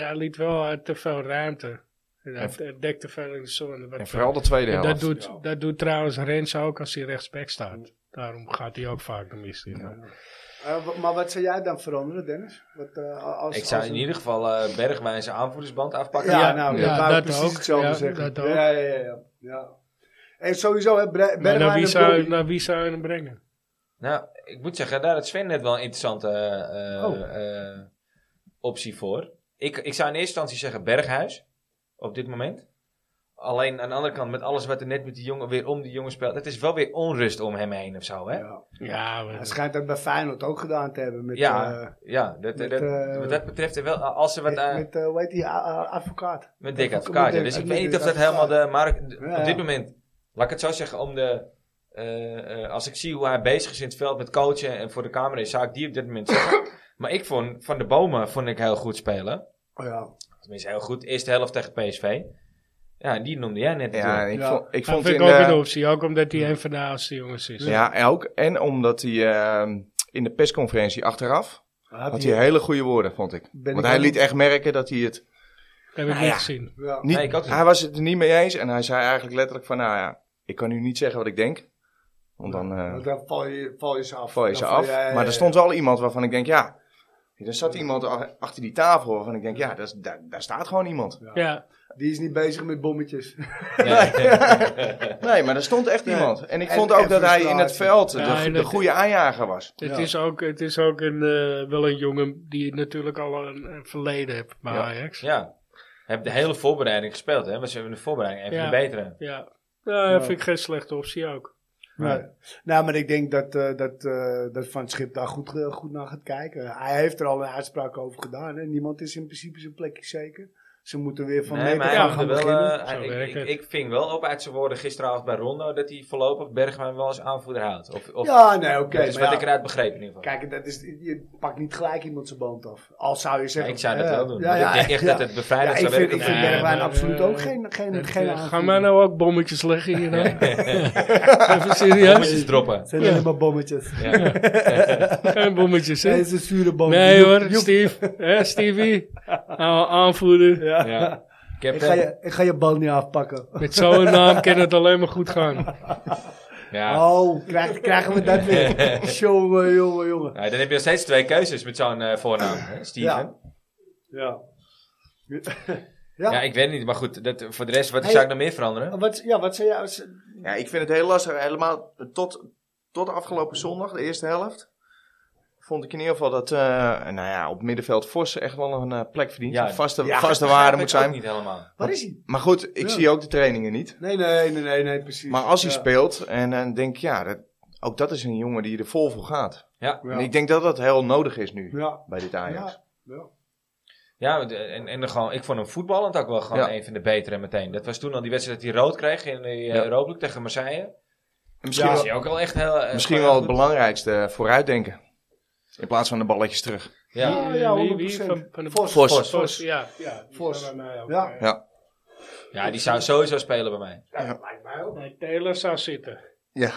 hij liet wel eh, te veel ruimte. Hij
En-
hij dekte veel in de zone. wat-
En vooral de tweede
en
helft.
dat, doet, dat doet trouwens Rens ook als hij rechtsback staat. Daarom gaat hij ook vaak Nou, de mist in.
Eh, wa- maar wat zou jij dan veranderen, Dennis? Wat, eh, als,
Ik zou
als
in
een-
ieder geval eh bergwijze aanvoerdersband afpakken.
Ja,
Ja,
nou,
ja,
dat wou ik
dat
precies
ook.
hetzelfde
Ja,
zeggen.
dat ook.
Ja, ja, ja, ja, ja. En sowieso, hè, Bre-
Maar naar
Bergwijn
nou, wie,
en
zou,
Bobby.
naar wie zou je hem brengen?
Nou, ik moet zeggen, daar had Sven net wel een interessante eh,
Oh.
eh, eh, optie voor. Ik, ik zou in eerste instantie zeggen Berghuis, op dit moment. Alleen aan de andere kant, met alles wat er net met die jongen weer om die jongen speelt. Het is wel weer onrust om hem heen of zo, hè? Ja,
Ja.
Ja, maar-
Hij schijnt dat bij Feyenoord ook gedaan te hebben met...
Ja,
eh,
dat,
met,
dat,
eh,
wat dat betreft, er wel, als ze wat aan-
met, eh, hoe heet die, a- a- advocaat.
Met dik
Met
advocaat, ja.
dik-
Dus ik
met
weet niet
dik
of dat helemaal
advocaat.
de markt...
Ja,
Op
ja.
dit moment, laat ik het zo zeggen, om de... eh, eh, als ik zie hoe hij bezig is in het veld met coachen en voor de camera is, zou ik die op dit moment zeggen. maar ik vond Van de Bomen vond ik heel goed spelen.
Oh, ja.
Tenminste, heel goed. Eerste helft tegen PSV. Ja, die noemde jij net
Ja,
natuurlijk.
en ik
Ja.
vond,
dat
ik vond
Nou, vind ik
in
ook
de-
een optie. Ook omdat hij een van de oudste jongens is.
Ja, en ook. En omdat hij ehm, in de persconferentie achteraf
Had
had
hij-
hij hele goede woorden, vond ik.
Ben
Want
ik
hij
ook-
liet echt merken dat hij het
Dat heb ik niet gezien.
ja.
niet,
Nee, ik ook niet.
hij was het er niet mee eens en hij zei eigenlijk letterlijk van, nou ja, ik kan nu niet zeggen wat ik denk, want dan eh,
Want dan val je, val je ze af.
val je
Dan
ze af.
ja, ja,
maar
ja.
er stond wel iemand waarvan ik denk, ja, er zat iemand a- achter die tafel waarvan ik denk, ja, dat is- daar, daar staat gewoon iemand.
Ja,
Die is niet bezig met bommetjes.
Nee, maar er stond echt iemand. En ik
En-
vond ook
en
dat hij in het
frustratie.
veld
Ja,
de,
en
de
het-
goede aanjager was.
Het,
Ja.
is ook, het is ook een, eh, wel een jongen die natuurlijk al een, een verleden heeft bij
Ja.
Ajax. Ja.
ja. Heb de hele voorbereiding gespeeld, hè. We hebben de voorbereiding even
Ja.
de betere.
Nou,
Ja.
vind ik geen slechte optie ook.
Nee. Nou, maar ik denk dat, eh, dat, eh, dat Van het Schip daar goed, eh, goed naar gaat kijken. Hij heeft er al een uitspraak over gedaan. Hè. Niemand is in principe zijn plekje zeker. Ze moeten weer van
nee,
nee,
maar
meter
hij
af
moet
gaan
er wel,
beginnen.
eh,
Zo
ik-
werkt
ik,
het.
ik ving wel op uit zijn woorden gisteravond bij Rondo dat hij voorlopig Bergwijn wel als aanvoerder houdt. Of, of
ja, nee, oké.
dat is
maar
wat
ja,
ik eruit begreep in ieder geval.
Kijk, dat is, je pakt niet gelijk iemand zijn band af. Al zou je
Ja,
zeggen...
ik zou dat
eh,
wel doen.
Ja,
Want
ja,
ik denk echt
ja.
dat het
Ja,
bevrijdend
ik
zou
vind,
werken.
ik vind
Nee,
Bergwijn
maar,
absoluut
eh,
ook geen, geen,
Dat,
geen
eh, gaan
aanvoerder.
wij nou ook bommetjes leggen hier dan? Even serieus?
Bommetjes droppen.
Het zijn
Ja.
helemaal bommetjes.
Ja.
Geen bommetjes,
Hij
hè?
is een zure bom.
Nee
Joep,
hoor,
joep.
Steve. Hè, Stevie? Nou, aanvoerder.
Ja.
Ja. Ik heb
Ik, ga
eh,
je, ik ga je bal niet afpakken.
Met zo'n naam kan het alleen maar goed gaan.
ja.
Oh, krijg- krijgen we dat weer? jongen, jongen, jongen.
Nou, dan heb je nog steeds twee keuzes met zo'n eh, voornaam, hè, Steven.
Ja.
Ja.
Ja.
ik weet het niet, maar goed, dat, voor de rest, wat
Hey.
zou ik nog meer veranderen?
Wat, ja, wat zei jij? als-
Ja, ik vind het heel lastig. Helemaal tot, tot afgelopen zondag, de eerste helft, vond ik in ieder geval dat eh, nou ja, op middenveld Vos echt wel een eh, plek verdient.
Ja,
Een vaste,
ja,
vaste
Begrijp ik
waarde moet
ook
zijn.
niet helemaal.
Waar is hij?
Maar goed, ik
Ja.
zie ook de trainingen niet.
Nee, nee, nee, nee, nee, precies.
Maar als hij
Ja.
speelt en dan denk ik, ja, dat, ook dat is een jongen die er vol voor gaat.
Ja,
Ja.
En ik denk dat dat heel nodig is nu
Ja.
bij dit Ajax.
Ja. Ja.
ja de- en, en dan gewoon, ik vond hem voetballend ook wel gewoon
Ja.
een van de betere meteen. Dat was toen al die wedstrijd dat hij rood kreeg in de eh,
Ja.
Europa League tegen Marseille.
En Misschien,
Ja. Was
wel,
hij ook wel echt heel... eh,
misschien
gewoon
wel
heel
het
goed.
belangrijkste, vooruitdenken. In plaats van de balletjes terug.
Ja.
Ja,
Wie-
ja,
wie- wie?
100%.
Van- van de-
Vos.
Vos.
Vos.
Vos, ja. ja die
Vos.
zijn bij mij ook,
Ja.
eh.
Ja.
ja, die zou sowieso spelen bij mij.
Ja, dat lijkt mij ook.
Nee, Taylor zou zitten.
Ja.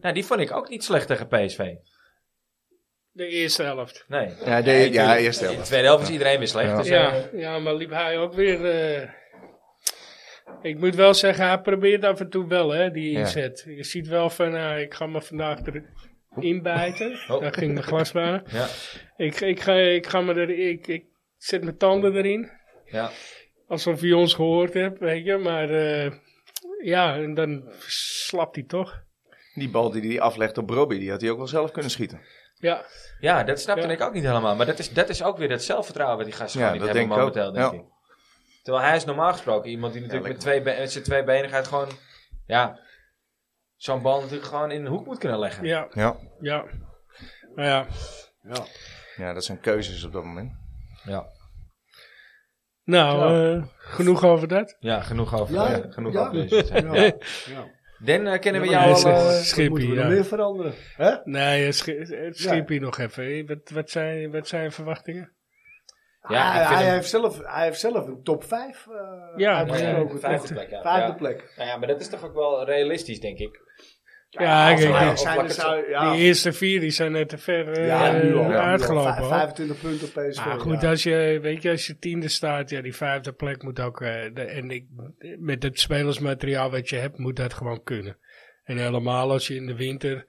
Nou, die vond ik ook niet slecht tegen PSV.
De eerste helft.
Nee.
Ja, de, ja,
tuurlijk.
eerst
In de
helft.
tweede helft is iedereen weer slecht.
Ja.
Dus, eh,
Ja, ja, maar liep hij ook weer. eh, ik moet wel zeggen, hij probeert af en toe wel, eh, hè, die
Ja.
inzet. Je ziet wel van, nou, ik ga me vandaag er inbijten.
Oh.
Daar ging mijn glas waren.
Ja,
Ik, ik, ga, ik, ga me er, ik, ik zet mijn tanden erin.
ja.
Alsof je ons gehoord hebt, weet je. Maar eh, ja, en dan slapt hij toch.
Die bal die hij aflegt op Robbie, die had hij ook wel zelf kunnen schieten.
Ja,
ja dat snapte
Ja.
ik ook niet helemaal. Maar dat is, dat is ook weer dat zelfvertrouwen wat die gasten
Ja,
gewoon niet
dat
hebben
denk ik
momenteel,
ook.
denk
Ja.
ik. Terwijl hij is normaal gesproken iemand die natuurlijk met, twee be- met zijn twee benen gaat gewoon... Ja, zo'n bal natuurlijk gewoon in de hoek moet kunnen leggen.
ja,
Ja.
ja. Nou ja,
Ja.
Ja, dat zijn keuzes op dat moment.
Ja,
nou,
Ja.
eh, genoeg over dat.
ja genoeg over,
Ja,
eh, genoeg
ja.
over deze. zeg.
Ja. Ja.
Dan eh, kennen we
Ja, maar
jou
dat
al...
is-
eh,
dat
Schippie,
moeten we
ja.
nog meer veranderen. Hè?
Nee, eh, schi- eh, schiep hier nog even. Eh, Wat, wat, zijn, wat zijn je verwachtingen?
Ja,
hij,
ik vind
hij
hem-
heeft zelf, hij heeft zelf een top 5 eh
Ja,
uitgesproken.
ja, vijfde
toch?
plek, ja.
Vijfde
Ja.
plek.
Nou ja, maar dat is toch ook wel realistisch, denk ik.
Ja,
als
ik
hij
denk-
Ajax zijn,
of
dan zou- ja.
Die eerste vier die zijn net te ver eh
Ja, nu al.
ja,
uitgelopen.
Vijf-
hoor.
25 punten op PSV.
Maar goed,
ja.
als je, weet je, als je tiende staat, ja, die vijfde plek moet ook, eh, de- en ik, met het spelersmateriaal wat je hebt, moet dat gewoon kunnen. En helemaal als je in de winter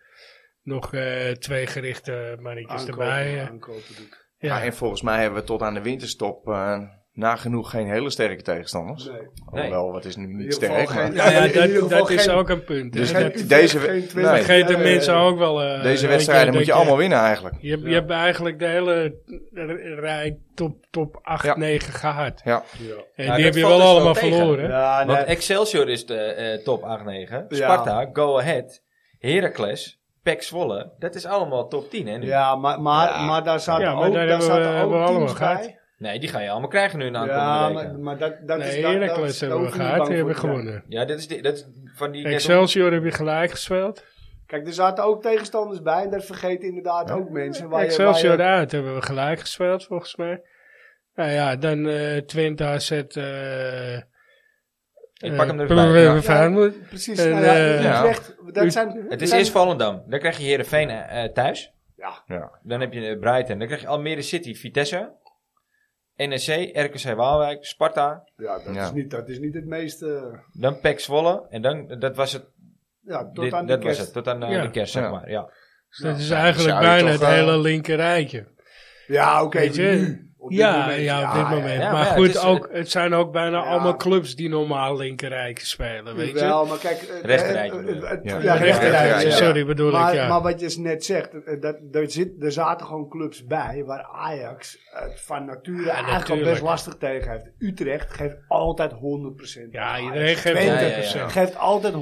nog eh, twee gerichte mannetjes
Aankopen,
erbij. eh,
aankopen doe ik.
ja.
Ja, en volgens mij hebben we tot aan de winterstop eh, nagenoeg geen hele sterke tegenstanders.
Nee.
Alhoewel, wat is nu niet
ieder geval
sterk.
geen-
Nou
maar-
ja,
in ieder
dat,
geval
dat is
geen-
ook een punt. hè.
Dus
dat
geen- deze- nee.
vergeten mensen ook wel. eh, weet
Deze
je,
wedstrijden
dat
moet je allemaal winnen eigenlijk.
Je, hebt- je hebt eigenlijk de hele r- rij top, top 8,
Ja.
9 gehad.
Ja,
Ja.
En
Nou,
die
dat
heb je
valt
wel
dus wel
allemaal
tegen.
verloren. hè?
Ja, nee.
Want Excelsior is de eh, top 8-9. Sparta, Go Ahead, Heracles, PEC Zwolle. Dat is allemaal top 10, hè? Nu.
ja, maar, maar,
Ja.
maar daar zaten
Ja, maar
ook,
daar
daar
hebben we-
zaten
hebben we
ook
allemaal
teams
gehad.
bij.
Nee, die ga je allemaal krijgen nu in de aankomende
Ja,
weken.
maar, maar dat, dat is...
Nee,
daar- daar-
Heracles
daar
hebben we
hoef je niet
gehad,
bang
die hebben
voor te zijn.
gewonnen.
Ja, dit is, die, dat is van die... net op-
Excelsior heb je gelijk gespeeld.
Kijk, er zaten ook tegenstanders bij. En dat vergeten inderdaad ook mensen. Waar je-
Excelsior
waar je-
uit hebben we gelijk gespeeld, volgens mij. Nou ja, dan eh Twente AZ... eh
Ik pak hem
eh,
er even bij, ja.
Feyenoord.
Precies.
En,
nou ja,
eh,
Utrecht,
Ut-
dat zijn...
Het
dat
is
zijn-
eerst Volendam. Dan krijg je Heerenveen eh, eh, thuis.
Ja.
Dan heb je eh, Brighton. Dan krijg je Almere City, Vitesse. NEC, RKC Waalwijk, Sparta.
Ja, dat,
Ja.
Is niet, dat is niet het meeste...
Dan PEC Zwolle. En dan, dat was het.
Ja, tot
dit-
aan de
dat was
kerst.
het. Tot aan eh,
Ja.
de kerst, zeg
Ja.
maar. Ja.
Dus dat is
zou
eigenlijk
je
bijna
toch,
het
eh,
hele linker rijtje.
Ja, oké.
Weet je?
nu, op dit
Ja,
moment.
ja, op dit moment.
ja,
maar
ja,
goed,
het
het,
is-
ook, het zijn ook bijna
Ja.
allemaal clubs die normaal linkerrijken spelen, weet je.
Wel, maar kijk... eh,
Rechterrijtje
eh,
bedoel je?
eh, het-
Ja.
Ja, rechterrijtje.
Rechterrijtje,
ja.
Sorry, bedoel
maar,
ik, ja.
maar wat je net zegt, eh, dat, er, zit, er zaten gewoon clubs bij waar Ajax het van nature eigenlijk al
natuurlijk.
best lastig tegen heeft. Utrecht geeft altijd 100% tegen
ja,
Ajax.
iedereen geeft 100%.
Twente
Ja, ja, ja.
geeft altijd 100%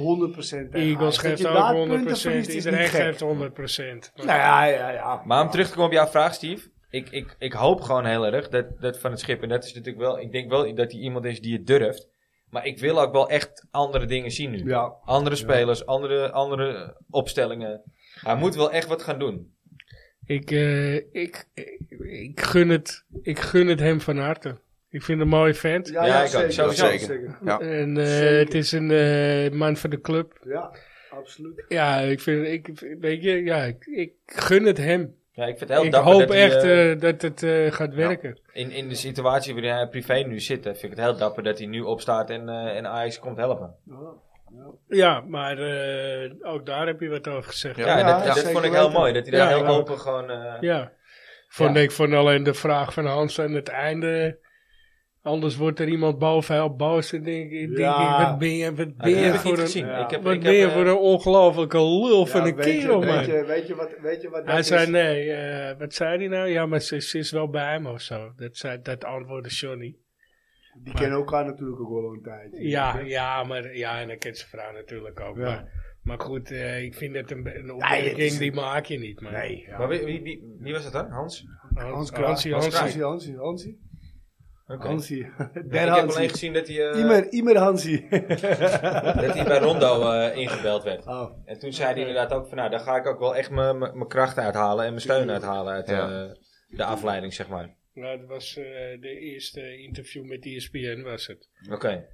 tegen
Eagles
Ajax. Dat
geeft
je daar
ook 100%.
punten verliest is
Iedereen
niet gek.
geeft 100%.
Nou ja, ja, ja.
Maar om terug te komen op jouw vraag, Steve. Ik, ik, ik hoop gewoon heel erg dat, dat van het schip. En dat is natuurlijk wel. Ik denk wel dat hij iemand is die het durft. Maar ik wil ook wel echt andere dingen zien nu.
Ja.
Andere spelers, andere, andere opstellingen. Hij moet wel echt wat gaan doen.
Ik, eh, ik, ik, ik gun het, ik gun het hem van harte. Ik vind hem een mooie vent.
Ja,
Ja,
ja,
ik ook,
zeker.
sowieso.
zeker. zeker.
Oh,
ja.
En eh,
Zeker.
het is een eh, man van de club.
Ja, absoluut.
Ja, ik vind, ik, weet je, ja, ik, ik gun het hem.
Ja, ik vind het heel
ik
dapper
hoop
dat hij,
echt
eh,
eh, dat het eh, gaat werken.
in, in de situatie waarin hij privé nu zit, eh, vind ik het heel dapper dat hij nu opstaat en, eh, en Ajax komt helpen.
Ja.
Ja, maar eh, ook daar heb je wat over gezegd.
Ja,
Ja,
dat,
ja,
dat
zeker
vond ik heel
weten.
mooi. Dat hij daar
Ja,
heel
ja.
open gewoon... eh,
Ja. Vond
Ja.
ik van alleen de vraag van Hans aan het einde. Anders wordt er iemand boven heel boos. En denk, ik- denk
Ja.
ik, wat ben je, wat ben
die
je
heb ik
voor
niet
een...
gezien.
ja.
Ik heb,
Wat
ik
ben
heb,
je
eh,
voor een ongelofelijke lul van
Ja,
een
weet
kerel,
je,
man.
weet je, weet je wat, weet je wat dat
Hij
is?
zei, nee, eh, wat zei hij nou? Ja, maar ze, ze is wel bij hem of zo. Dat, zei, dat antwoordde Johnny.
Die kennen elkaar natuurlijk ook wel een tijdje.
Ja, ja, maar, ja, en dan kent zijn vrouw natuurlijk ook.
Ja.
Maar, maar goed, eh, ik vind dat een, be- een
het is
opmerking,
een-
die maak je niet. Maar
Nee, ja.
Maar wie, wie, wie, wie was dat dan? Hans?
Hans,
Hans Kraaij.
Hansie,
Hans
Hansie.
Kraaij.
Hansie, Hansie, Hansie.
Oké.
Hansie.
ik
Der
heb alleen
Hansie.
gezien dat hij, eh,
Imer, Imer Hansie.
dat hij bij Rondo eh, ingebeld werd.
Oh,
En toen zei hij inderdaad ook van, nou, daar ga ik ook wel echt mijn- mijn mijn kracht uithalen en mijn steun uithalen uit
Ja.
eh, de afleiding, zeg maar.
Nou, dat was eh, de eerste interview met E ESPN, was het.
Oké.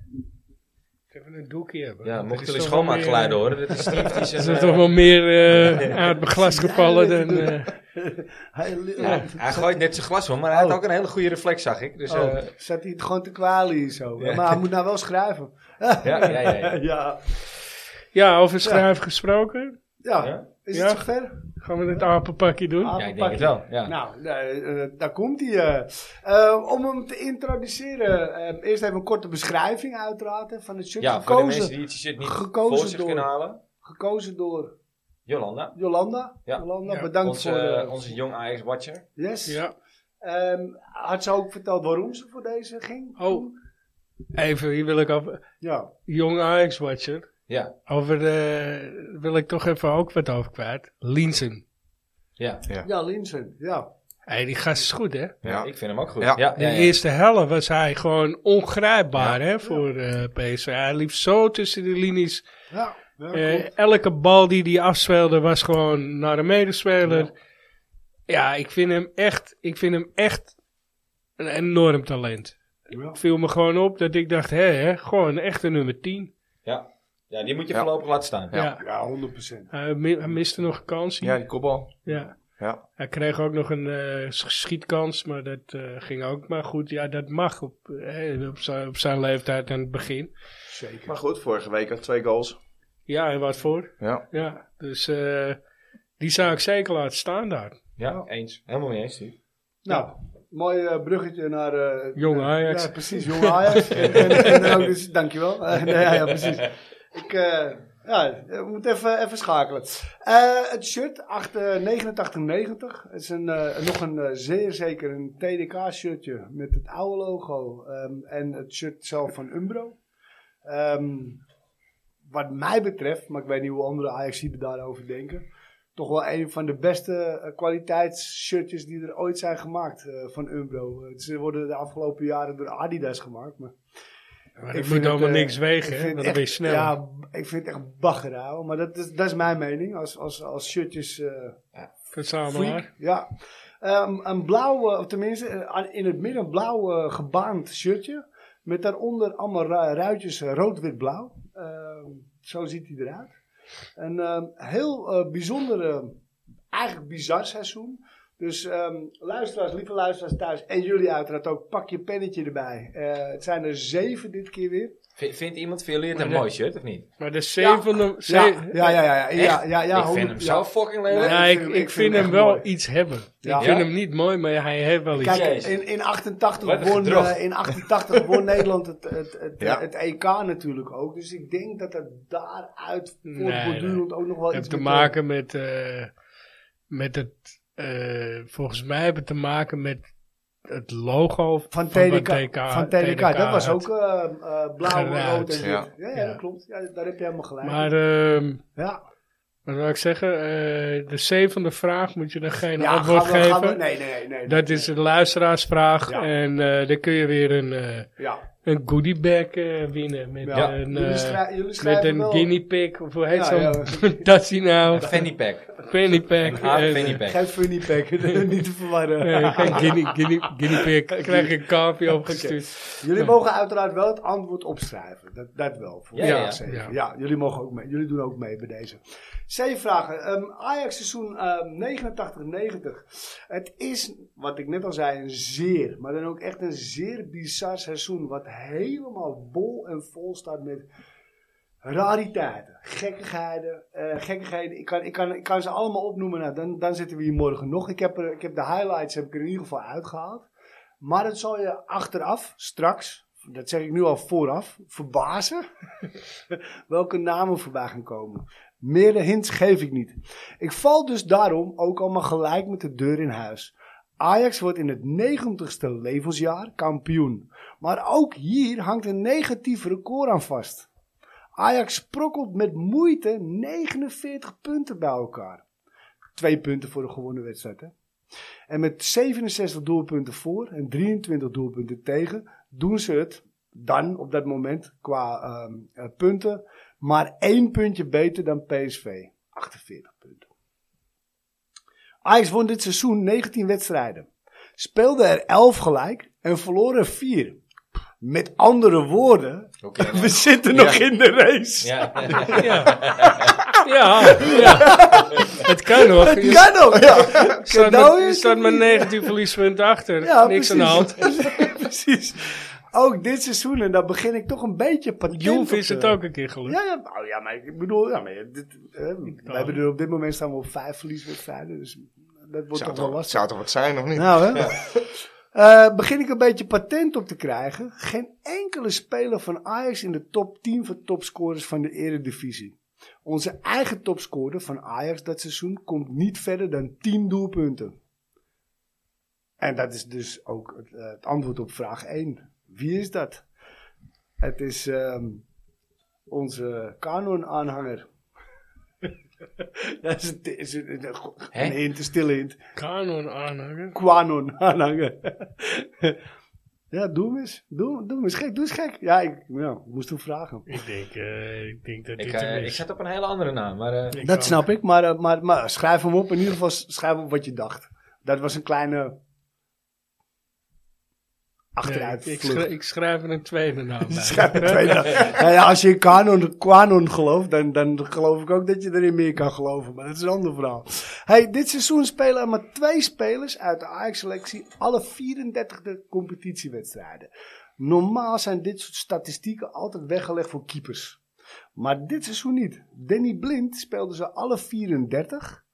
Even een doekje hebben.
Ja,
Dat
mocht
is
jullie
toch wel
schoonmaakgeluiden
meer- eh,
horen, dat is Steve die zijn,
Is er
eh,
toch wel meer eh uit mijn glas gevallen dan... eh,
hij,
ja, hij gooit net zijn glas om, maar hij had ook een hele goede reflex, zag ik. Dus,
oh,
eh,
zat hij het gewoon te kwalen hier zo.
Ja.
Maar hij moet nou wel schrijven.
ja, ja, ja, ja.
ja.
ja, over schrijf gesproken.
Ja.
Ja?
Is
Ja.
het zover?
Gaan we het apenpakje doen?
Ja, ik denk het wel. Ja.
Nou, eh, eh, daar komt hij. eh. Eh, om hem te introduceren, eh, eerst even een korte beschrijving uiteraard hè, van het shirt.
ja, voor de mensen
gekozen,
die het shit niet
gekozen
voor zich
door-
kunnen halen.
gekozen door
Jolanda,
Jolanda.
Ja.
Jolanda,
Ja.
bedankt
onze,
voor... eh,
onze jong Ajax-watcher.
yes.
Ja.
Ehm, had ze ook verteld waarom ze voor deze ging?
Oh, even, hier wil ik af.
Ja.
Jong Ajax-watcher.
Ja,
Over, eh, wil ik toch even ook wat over kwijt. Linsen.
ja.
Ja, Linsen. Ja.
Hé, die gast is goed, hè?
Ja,
Ja.
ik vind hem ook goed. Ja,
Ja.
ja,
De
ja,
eerste helft was hij gewoon ongrijpbaar, hè, voor eh PSV. Hij liep zo tussen de linies.
Ja. ja,
Eh,
klopt.
elke bal die hij afspeelde was gewoon naar een medespeler. Ja, ik, vind hem echt, ik vind hem echt een enorm talent.
Ja.
Het viel me gewoon op dat ik dacht, hé, hè, gewoon een echte nummer 10.
ja. Ja, die moet je
Ja.
voorlopig laten staan.
Ja.
Ja, 100%.
Hij, mi- hij miste nog een kans.
Ja,
Ja.
die kopbal. Ja.
Hij kreeg ook nog een eh, sch- schietkans, maar dat eh, ging ook maar goed. Ja, dat mag op, eh, op, zijn, op zijn leeftijd aan het begin.
Zeker.
Maar goed, vorige week had twee goals.
Ja, en wat voor.
Ja.
Ja, dus eh, die zou ik zeker laten staan daar.
Ja, eens. Helemaal niet eens, Steve.
Nou, mooi eh, bruggetje naar... eh,
Jong Ajax.
Ja, precies, jong Ajax. en, en, en dan ook dus, dankjewel. Eh, nee, ja, ja, precies. Ik, eh, ja, we moeten even, even schakelen. Eh, het shirt, 8, eh, 8990. Het is een, eh, nog een eh, zeer zeker een TDK-shirtje met het oude logo ehm, en het shirt zelf van Umbro. Ehm, wat mij betreft, maar ik weet niet hoe andere Ajaxiden daarover denken, toch wel een van de beste eh, kwaliteitsshirtjes die er ooit zijn gemaakt eh, van Umbro. Eh, ze worden de afgelopen jaren door Adidas gemaakt, maar
Maar
Ik
ik
vind
moet
het,
allemaal
eh,
niks wegen,
ik
hè?
vind
Dan
echt-
ben je snel.
Ja, ik vind het echt bagger, ouwe. Maar dat is, dat is mijn mening als, als, als shirtjes... eh,
Verzamelaar.
ja. Ehm, een blauwe, of tenminste eh, aan- in het midden een blauw eh, gebaand shirtje. Met daaronder allemaal ru- ruitjes eh, rood-wit-blauw. Ehm, zo ziet hij eruit. Een ehm, heel eh, bijzonder, eh, eigenlijk bizar seizoen. Dus ehm, luisteraars, lieve luisteraars thuis en jullie uiteraard ook, pak je pennetje erbij. Eh, het zijn er zeven dit keer weer.
V- vindt iemand veel leert een
Maar
mooi shirt, of niet?
Maar de zevende... Ja,
Ja, ja, ja, ja, ja, ja,
Echt?
ja, ja,
ik vind
honderd-
hem
ja.
zo fucking lelijk.
Ja,
ik, ik vind, hem,
echt
wel
mooi.
iets hebben.
Ja.
Ik vind
Ja?
hem niet mooi, maar hij heeft wel iets.
Kijk,
Jezus.
in, in 88
Wat een
won,
gedrocht.
eh, in 88 won Nederland het, het, het,
Ja.
het EK natuurlijk ook. Dus ik denk dat het daaruit
Nee,
voortbordurend ook nog wel
het
iets
heeft te
met-
maken met... eh, met het... eh, volgens mij heeft het te maken met het logo van,
van
wat
TDK. Van TDK, dat was
had.
ook eh eh, blauw,
Geruit.
rood en wit. Ja,
Ja.
ja,
Ja.
dat klopt. Ja, daar heb je helemaal gelijk.
Maar ehm,
ja,
wat wil ik zeggen? Eh, de zevende vraag moet je er geen
ja
antwoord
gaan we,
geven.
gaan we- nee, nee, nee. nee,
Dat
nee.
is een luisteraarsvraag.
Ja.
En eh dan kun je weer een... eh,
Ja,
een goodie bag eh, winnen. Met
Ja.
een,
Jullie
eh,
schrij- jullie
met
schrijven
een
wel-
guinea pig. Of hoe heet
Ja, ja.
zo'n? dat is die nou?
Een fanny pack.
Fanny pack.
Een hard
eh,
fanny pack.
geen funny pack, niet te verwarren.
eh, geen guinea, guinea, guinea pig. Krijg een kaapje opgestuurd.
Jullie mogen uiteraard wel het antwoord opschrijven. Dat, dat wel. Voor
Ja,
ja,
ja,
zeker. ja.
ja.
jullie, mogen ook mee, jullie doen ook mee bij deze. C-vragen. Ehm, Ajax seizoen ehm 89-90. Het is, wat ik net al zei, een zeer, maar dan ook echt een zeer bizar seizoen. Wat helemaal bol en vol staat met rariteiten, gekkigheden. eh, gekkigheden. Ik, kan, ik, kan, ik kan ze allemaal opnoemen. Nou, dan, dan zitten we hier morgen nog. Ik heb, er, ik heb de highlights heb ik er in ieder geval uitgehaald. Maar dat zal je achteraf, straks, dat zeg ik nu al vooraf, verbazen welke namen voorbij gaan komen. Meer hints geef ik niet. Ik val dus daarom ook allemaal gelijk met de deur in huis. Ajax wordt in het 90ste levensjaar kampioen. Maar ook hier hangt een negatief record aan vast. Ajax sprokkelt met moeite 49 punten bij elkaar. Twee punten voor de gewonnen wedstrijd, hè? En met 67 doelpunten voor en 23 doelpunten tegen, doen ze het dan op dat moment qua ehm, eh, punten maar één puntje beter dan PSV. 48 punten. Ajax won dit seizoen 19 wedstrijden. Speelde er 11 gelijk en verloor er 4. Met andere woorden,
Oké, nou.
we zitten nog in de race.
Ja.
Ja. ja, ja. Het kan nog.
Het kan ook, ja.
Je staat,
Cadeau
met, je
is
staat
het
met
niet.
19 verliespunten achter.
Ja,
Niks
precies.
aan de hand.
precies. ook dit seizoen, en daar begin ik toch een beetje patent
Juve
op
is
te-
het ook een keer gelukt.
Ja, ja, nou, ja, maar ik bedoel, ja, maar ja, dit, eh, wij hebben er op dit moment staan we op vijf verlieswedstrijden, dus dat wordt
Zou
toch wel
toch,
lastig.
zou toch wat zijn, of niet?
Nou, hè? Eh, begin ik een beetje patent op te krijgen. Geen enkele speler van Ajax in de top 10 van topscorers van de Eredivisie. Onze eigen topscorer van Ajax dat seizoen komt niet verder dan 10 doelpunten. En dat is dus ook het, eh, het antwoord op vraag 1. Wie is dat? Het is ehm, onze kanon-aanhanger. dat is, een- is een, een, een hint, een stille hint.
Kanon aanhangen.
Quanon aanhangen. Ah, ja, doe hem eens. Doe, doe hem eens gek. Doe eens gek. Ja, ik ja, moest toen vragen.
Ik denk, eh, ik denk dat
Ik,
dit
eh,
hem
ik
is.
zat op een hele andere naam, maar... eh,
Ik
Dat
ook.
snap ik, maar, eh, maar, maar schrijf hem op. In ieder geval schrijf op wat je dacht. Dat was een kleine
Nee,
achteruit.
ik, schrijf, ik schrijf er een tweede naam bij.
Schrijf een tweede. Nou ja, als je in kanon, kwanon gelooft, dan, dan geloof ik ook dat je erin meer kan geloven. Maar dat is een ander verhaal. Hey, dit seizoen spelen er maar twee spelers uit de Ajax-selectie alle 34 e competitiewedstrijden. Normaal zijn dit soort statistieken altijd weggelegd voor keepers. Maar dit seizoen niet. Danny Blind speelde ze alle 34.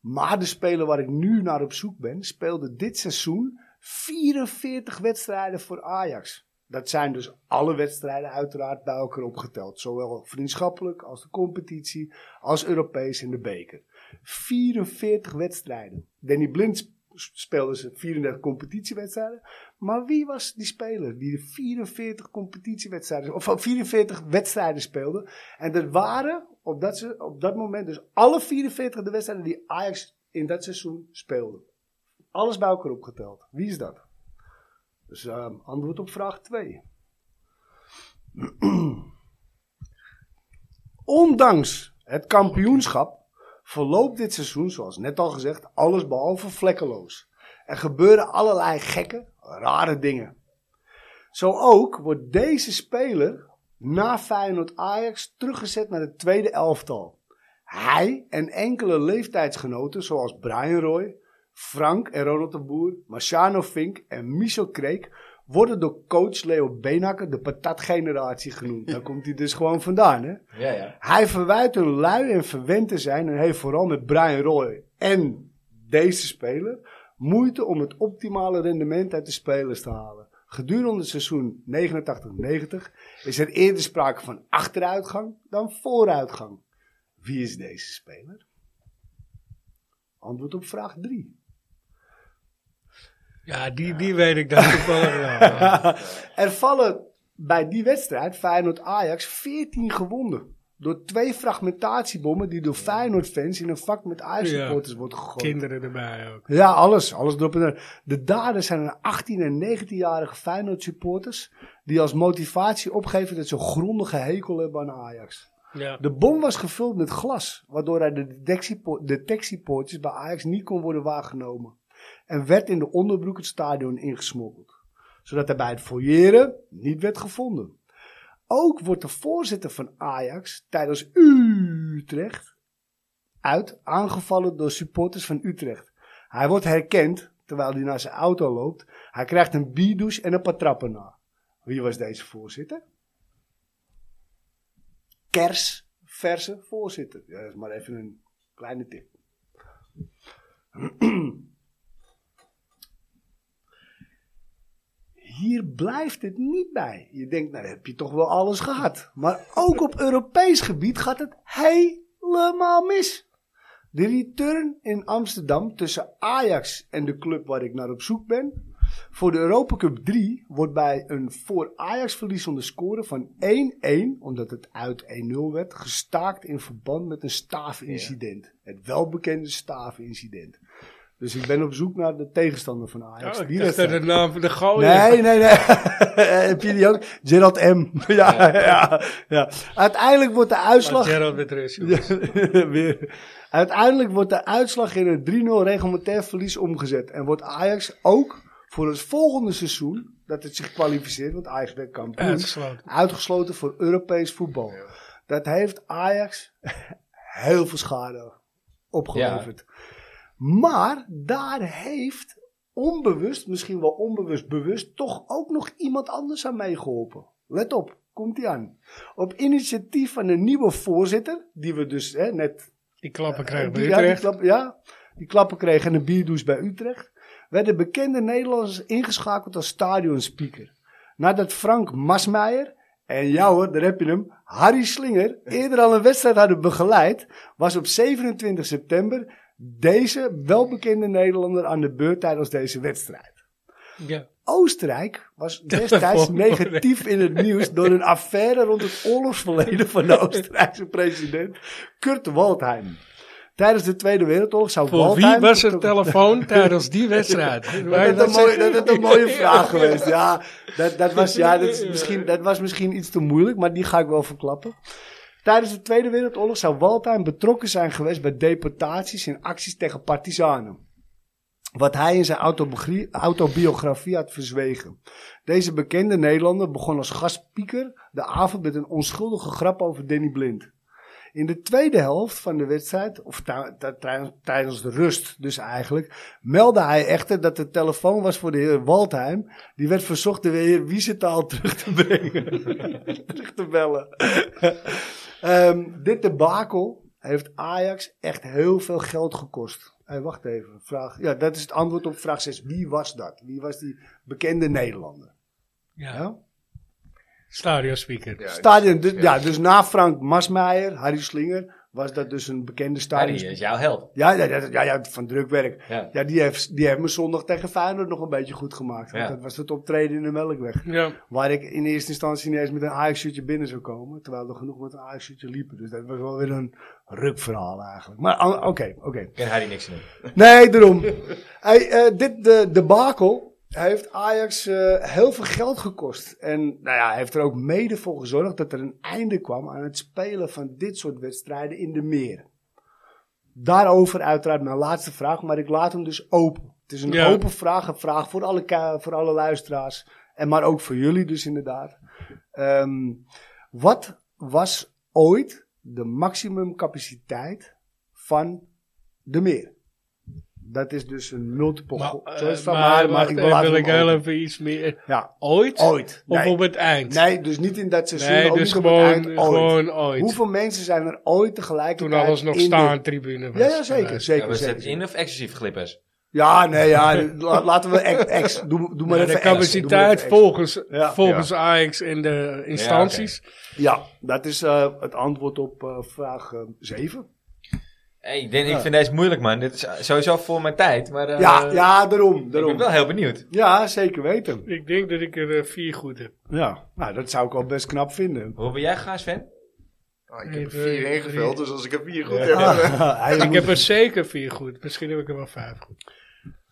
Maar de speler waar ik nu naar op zoek ben, speelde dit seizoen 44 wedstrijden voor Ajax. Dat zijn dus alle wedstrijden uiteraard bij elkaar opgeteld. Zowel vriendschappelijk als de competitie, als Europees in de beker. 44 wedstrijden. Danny Blind sp- speelde ze 34 competitiewedstrijden. Maar wie was die speler die de 44 competitiewedstrijden, of 44 wedstrijden speelde? En dat waren op dat, se- op dat moment dus alle 44 de wedstrijden die Ajax in dat seizoen speelde. Alles bij elkaar opgeteld. Wie is dat? Dus ehm, antwoord op vraag 2. Ondanks het kampioenschap verloopt dit seizoen, zoals net al gezegd, alles behalve vlekkeloos. Er gebeuren allerlei gekke, rare dingen. Zo ook wordt deze speler na Feyenoord Ajax teruggezet naar het tweede elftal. Hij en enkele leeftijdsgenoten zoals Brian Roy, Frank en Ronald de Boer, Marciano Fink en Michel Kreek worden door coach Leo Beenhakker de patatgeneratie genoemd. Daar komt hij dus gewoon vandaan, hè?
ja, ja.
Hij verwijt hun lui en verwend te zijn en heeft vooral met Brian Roy en deze speler moeite om het optimale rendement uit de spelers te halen. Gedurende het seizoen 89-90 is er eerder sprake van achteruitgang dan vooruitgang. Wie is deze speler? Antwoord op vraag 3.
Ja, die, die weet ik dan toevallig wel.
er vallen bij die wedstrijd, Feyenoord-Ajax, 14 gewonden. Door twee fragmentatiebommen die door Feyenoord-fans in een vak met Ajax-supporters worden gegooid.
Kinderen erbij ook.
Ja, alles. Alles erop en eraan. De daders zijn een 18 en 19-jarige Feyenoord-supporters... die als motivatie opgeven dat ze een grondige hekel hebben aan Ajax.
Ja.
De bom was gevuld met glas, waardoor hij de detectiepo- detectiepoortjes bij Ajax niet kon worden waargenomen. En werd in de onderbroek het stadion ingesmokkeld, zodat hij bij het fouilleren niet werd gevonden. Ook wordt de voorzitter van Ajax tijdens Utrecht uit aangevallen door supporters van Utrecht. Hij wordt herkend terwijl hij naar zijn auto loopt. Hij krijgt een bierdouche en een paar trappen na. Wie was deze voorzitter? kersverse voorzitter. Ja, dat is maar even een kleine tip. Hier blijft het niet bij. Je denkt, nou heb je toch wel alles gehad. Maar ook op Europees gebied gaat het helemaal mis. De return in Amsterdam tussen Ajax en de club waar ik naar op zoek ben. Voor de Europa Cup 3 wordt bij een voor Ajax verliezende score van 1-1, omdat het uit 1-0 werd, gestaakt in verband met een staafincident. Het welbekende staafincident. Dus ik ben op zoek naar de tegenstander van Ajax.
Oh, ik
Die
dacht dat
wedstrijd.
de naam van de gooi
Nee, nee, nee. Heb je die ook? Gerald M. ja, ja, ja. Uiteindelijk wordt de uitslag...
Gerald met rust. jongen.
Ja, weer. Uiteindelijk wordt de uitslag in een 3-0 reglementair verlies omgezet. En wordt Ajax ook voor het volgende seizoen, dat het zich kwalificeert, want Ajax werd kampioen,
Uitgesloten.
uitgesloten voor Europees voetbal. Dat heeft Ajax heel veel schade opgeleverd. Maar daar heeft onbewust, misschien wel onbewust bewust, toch ook nog iemand anders aan meegeholpen. Let op, komt hij aan. Op initiatief van een nieuwe voorzitter, die we dus hè, net
Die klappen krijgen bij
die, ja, die
Utrecht.
klap- ja, die klappen kregen en een bierdouche bij Utrecht. Werden bekende Nederlanders ingeschakeld als stadionspeaker. Nadat Frank Masmeijer en jou hoor, daar heb je hem, Harry Slinger, eerder al een wedstrijd hadden begeleid, was op 27 september deze welbekende Nederlander aan de beurt tijdens deze wedstrijd.
Ja.
Oostenrijk was destijds negatief in het nieuws door een affaire rond het oorlogsverleden van de Oostenrijkse president Kurt Waldheim. Tijdens de Tweede Wereldoorlog zou
Voor
Waldheim...
wie was nou er telefoon tijdens die wedstrijd?
Dat is een mooie, dat is een mooie vraag
Ja.
geweest. Ja, dat, dat, was, ja dat, is misschien, dat was misschien iets te moeilijk, maar die ga ik wel verklappen. Tijdens de Tweede Wereldoorlog zou Waldheim betrokken zijn geweest bij deportaties en acties tegen partizanen. Wat hij in zijn autobiogra- autobiografie had verzwegen. Deze bekende Nederlander begon als gastspieker de avond met een onschuldige grap over Danny Blind. In de tweede helft van de wedstrijd, of ta- ta- ta- tijdens de rust dus eigenlijk, meldde hij echter dat de telefoon was voor de heer Waldheim. Die werd verzocht de heer Wiesentaal terug te brengen, terug te bellen. Ehm, dit debakel heeft Ajax echt heel veel geld gekost. Hey, wacht even, vraag, ja, dat is het antwoord op vraag 6. Wie was dat? Wie was die bekende Nederlander?
Ja,
Ja?
stadionspeaker.
Ja,
Stadion, dus, ja, dus na Frank Masmeijer, Harry Slinger, was dat dus een bekende stadion.
Harry is jouw held.
Ja, ja, ja, ja, ja, van drukwerk.
Ja.
Ja, die heeft, die heeft me zondag tegen Feyenoord nog een beetje goed gemaakt. Want
Ja.
dat was het optreden in de Melkweg.
Ja.
Waar ik in eerste instantie niet eens met een Ajax-shirtje binnen zou komen. Terwijl er genoeg met een Ajax-shirtje liepen. Dus dat was wel weer een rukverhaal eigenlijk. Maar ah, oké, oké.
Ken Harry niks te doen.
Nee, daarom. Hey, eh, dit de debakel heeft Ajax eh, heel veel geld gekost. En nou ja, hij heeft er ook mede voor gezorgd dat er een einde kwam aan het spelen van dit soort wedstrijden in de meer. Daarover uiteraard mijn laatste vraag, maar ik laat hem dus open. Het is een
Ja.
open vraag, een vraag voor alle, ka- voor alle luisteraars. En maar ook voor jullie dus inderdaad. Ehm, wat was ooit de maximumcapaciteit van de meer? Dat is dus een multiple
Maar,
go-
eh,
choice van
maar
mij, maar
wacht,
ik
eh,
wil laten
wil
we
ik
hem
heel
open.
even iets meer.
Ja,
Ooit?
ooit.
Of
Nee.
op het eind?
nee, dus niet in dat seizoen.
Nee,
ook
dus
niet op het eind,
gewoon
ooit.
gewoon ooit.
Hoeveel mensen zijn er ooit tegelijkertijd
Toen alles nog
in de-
staan, tribune was. Eh,
Ja, ja, zeker,
geweest.
Ja,
zeker,
was dat
zeker.
in of exclusief glippers?
Ja, nee, ja, la- laten we ex, ex- doe, doe maar
Maar de
even ex, doe maar even
capaciteit
ex.
volgens,
Ja.
volgens Ajax en de instanties.
Ja, dat is eh, het antwoord op eh, vraag 7.
Hey, ik, denk,
Ja.
ik vind deze moeilijk, man. Dit is eh, sowieso voor mijn tijd, maar eh,
ja, ja, daarom,
ik ben
daarom.
wel heel benieuwd.
Ja, zeker weten.
Ik denk dat ik er eh, vier goed heb.
Ja, nou, dat zou ik al best knap vinden.
Hoe ben jij gegaan, Sven?
Ah, ik
Nee,
heb er
nee,
vier
nee.
ingevuld, dus als ik er vier goed heb...
Ah, hij
Ik
moet-
heb er zeker vier goed. Misschien heb ik er wel vijf goed.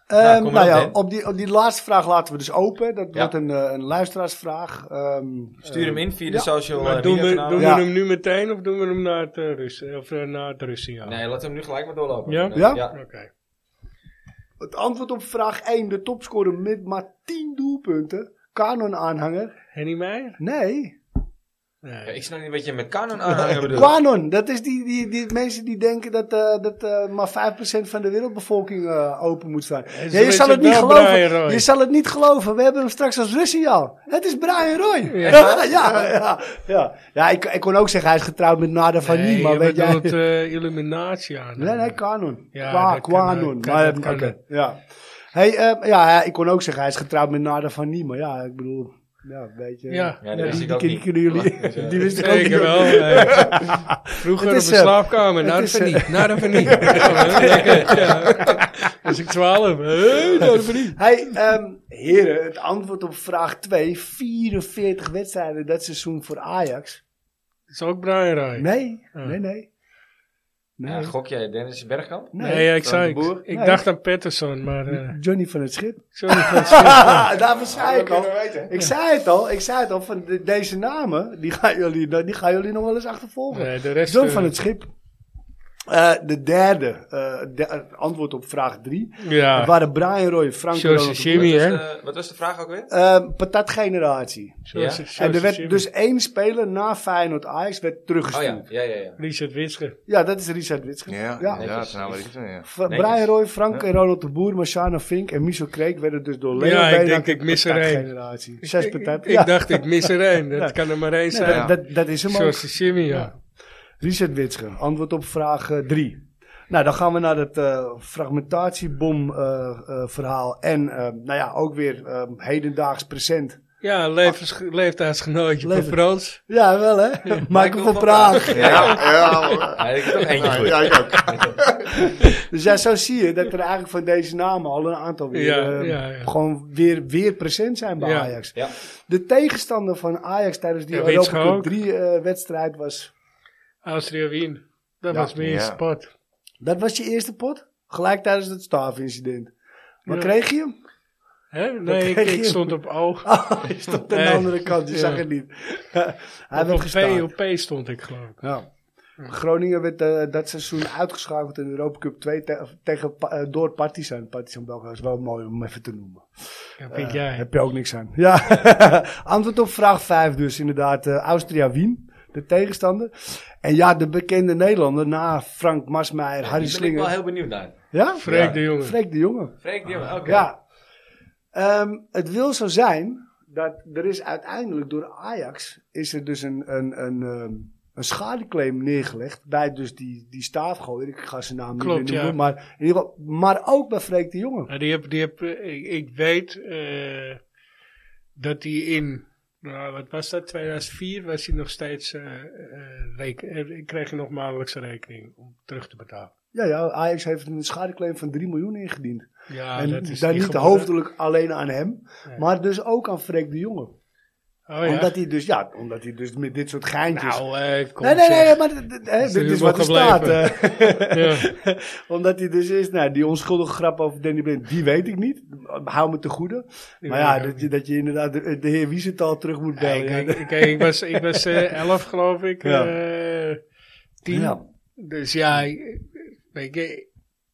Ehm,
Nou, kom
nou
erop,
ja,
Ben.
op die, op die laatste vraag laten we dus open. Dat
Ja.
wordt een, eh, een luisteraarsvraag. Ehm,
Stuur hem in via de
ja.
social eh,
Maar doen we,
media
doen
kanalen.
we hem
Ja.
nu meteen of doen we hem na het, eh, Rus, of, eh, na het Russiaal?
Nee, laten we hem nu gelijk maar doorlopen.
Ja?
Eh,
Ja?
Oké.
Het antwoord op vraag 1. De topscorer met maar 10 doelpunten. Canon-aanhanger.
Henny Meijer?
Nee.
Ja,
Nee.
Ik snap niet wat je met kanon aanhangen bedoelt.
Canon. Dat is die, die, die mensen die denken dat, eh, dat eh, maar 5% van de wereldbevolking eh, open moet staan.
is
Ja,
een
je zal het
beetje
niet
wel Brian
geloven.
Roy.
Je zal het niet geloven. We hebben hem straks als Russiaal. Het is Brian Roy. Ja,
Ja.
ja, ja. ja, Ja, ik, ik kon ook zeggen hij is getrouwd met Nada van
Nee,
maar
je
weet jij...
bedoelt eh, Illuminatie aan.
Nee, nee, kanon.
Ja,
Qua,
dat
qua
kan, eh,
nun.
kan,
maar,
dat
ehm,
kan.
oké, ja. Hey, ehm, ja, ja, ik kon ook zeggen, hij is getrouwd met Nada van Nie, maar ja, ik bedoel, ja, weet je.
Ja.
Ja, dat
die,
wist
die
ik ook
ken-
niet.
kennen jullie.
Dus, eh,
die wist ik ook niet.
Zeker wel. eh, vroeger
Het
op
is,
de
eh,
slaapkamer.
het
Nou, dat
is,
vind
eh,
ik niet. Nou, dat vind ik niet. Lekker, ja. Als ik twaalf. Hey, nou, dat vind ik niet.
Hey, ehm, heren, het antwoord op vraag 2, 44 wedstrijden dat seizoen voor Ajax.
Dat is ook Brian Roy.
Nee,
Ja.
nee, nee. Nee,
Ja, gok jij Dennis Bergkamp?
nee.
Nee, ja, ik
Frank
zei
de
ik,
Boer?
ik
Nee.
dacht aan Patterson, maar eh
Johnny van het Schip. Ah,
sorry voor het
Daarvoor zei ik al.
weten.
Ik zei het al, ik zei het al, van de- deze namen, die gaan jullie, die gaan jullie nog wel eens achtervolgen.
Nee, de rest
John
eh,
van het Schip. Eh, de derde, eh, de- eh, antwoord op vraag drie. Dat
Ja,
waren Brian Roy, Frank
Zoals
Ronald-
je ziet. Jimmy,
wat, was
hè?
de, wat was de vraag ook weer?
Eh, patatgeneratie.
zoals
Ja.
het-
En
zoals
er
het
werd
zit.
dus één speler na Feyenoord Ajax werd
Oh
teruggestuurd.
ja, ja, ja. ja.
Richard Witsche.
Ja, dat is Richard Witsche.
Ja,
Ja.
ja, inderdaad. Nou, weet ik het wel, ja.
Fra-
Netjes.
Brian Roy, Frank en Ronald de Boer, Marciano Fink en Michel Kreek werden dus door Leo
Ja, ik
Beenhakker
denk, ik
de
mis er één.
patatgeneratie. Zes
Ik-
patat.
Ik,
Ja,
dacht, ik mis er één. Dat
Ja.
kan er maar één
Nee,
zijn.
ja.
dat, dat, dat is hem ook.
Zoals de Jimmy, ja.
Richard Witsche, antwoord op vraag 3. nou, dan gaan we naar het eh, fragmentatiebom eh, eh, verhaal. En eh, nou ja, ook weer eh, hedendaags present.
Ja, levens, leeftijdsgenootje
Leven-
van Frans.
Ja, wel hè? Michael van
van
Praag.
Ja, ja.
Ja, ik heb er ook eentje goed.
Ja, ik ook.
Dus ja, zo zie je dat er eigenlijk van deze namen al een aantal weer,
Ja,
eh,
ja, ja.
gewoon weer, weer present zijn bij
Ja.
Ajax.
Ja.
De tegenstander van Ajax tijdens die
Ja,
Europa
Witsche
Cup
ook.
3 wedstrijd was...
Austria-Wien. Dat
Ja,
was mijn eerste
ja.
pot.
Dat was je eerste pot? Gelijk tijdens het staafincident. Maar
Ja.
kreeg je hem?
Hè? Nee, ik,
kreeg
ik
je?
stond op O.
Oh, je stond aan de
Nee.
andere kant, je
Ja.
zag het niet. Hij werd
op, P,
gestaan.
op P stond ik geloof ik.
Ja. Groningen werd eh, dat seizoen uitgeschakeld in de Europa Cup 2 te- tegen, Pa- eh, door Partizan. Partizan Belgrado is wel mooi om even te noemen.
Dat vind
Eh,
jij.
Heb je ook niks aan. Ja. Antwoord op vraag 5 dus inderdaad. eh, Austria-Wien, de tegenstander. En ja, de bekende Nederlander na Frank Masmeijer,
Daar
Harry
ben ik wel
Slinger.
heel benieuwd naar.
Ja?
Freek
Ja.
de Jonge.
Freek de Jonge.
Freek, die jongen, oké.
Ja. Ehm, het wil zo zijn dat er is uiteindelijk door Ajax is er dus een, een, een, ehm, een schadeclaim neergelegd bij dus die, die staafgooier. Ik ga zijn naam
Klopt,
niet meer noemen,
ja.
maar, in ieder geval, maar ook bij Freek de Jonge.
Nou, die heb, die heb, eh, ik, ik weet eh, dat hij in, nou, wat was dat, 2004 was hij nog steeds, eh, eh, rek- eh, kreeg hij nog maandelijkse rekening om terug te betalen.
Ja, ja, Ajax heeft een schadeclaim van 3 miljoen ingediend.
Ja,
en
dat is
daar
die
niet
geworden.
hoofdelijk alleen aan hem,
Nee.
maar dus ook aan Freek de Jonge.
Oh, ja.
Omdat hij dus, ja, omdat hij dus met dit soort geintjes...
nou, eh, kom
nee, nee, nee,
zeg.
maar dit- dit- hè,
Is
dit
er
is wat er staat.
überhaupt
eh.
Ja.
Omdat hij dus is, nou, die onschuldige grap over Danny Blind, die weet ik niet. Hou me te goede.
Die
maar
weet
ja,
ik ook
dat je, dat je inderdaad de, de heer Wiesenthal terug moet
Ja,
bellen.
ik,
Ja,
ik, ik, ik was, ik was eh, elf, geloof ik.
Ja.
eh, tien.
Ja.
Dus ja, ik- weet je,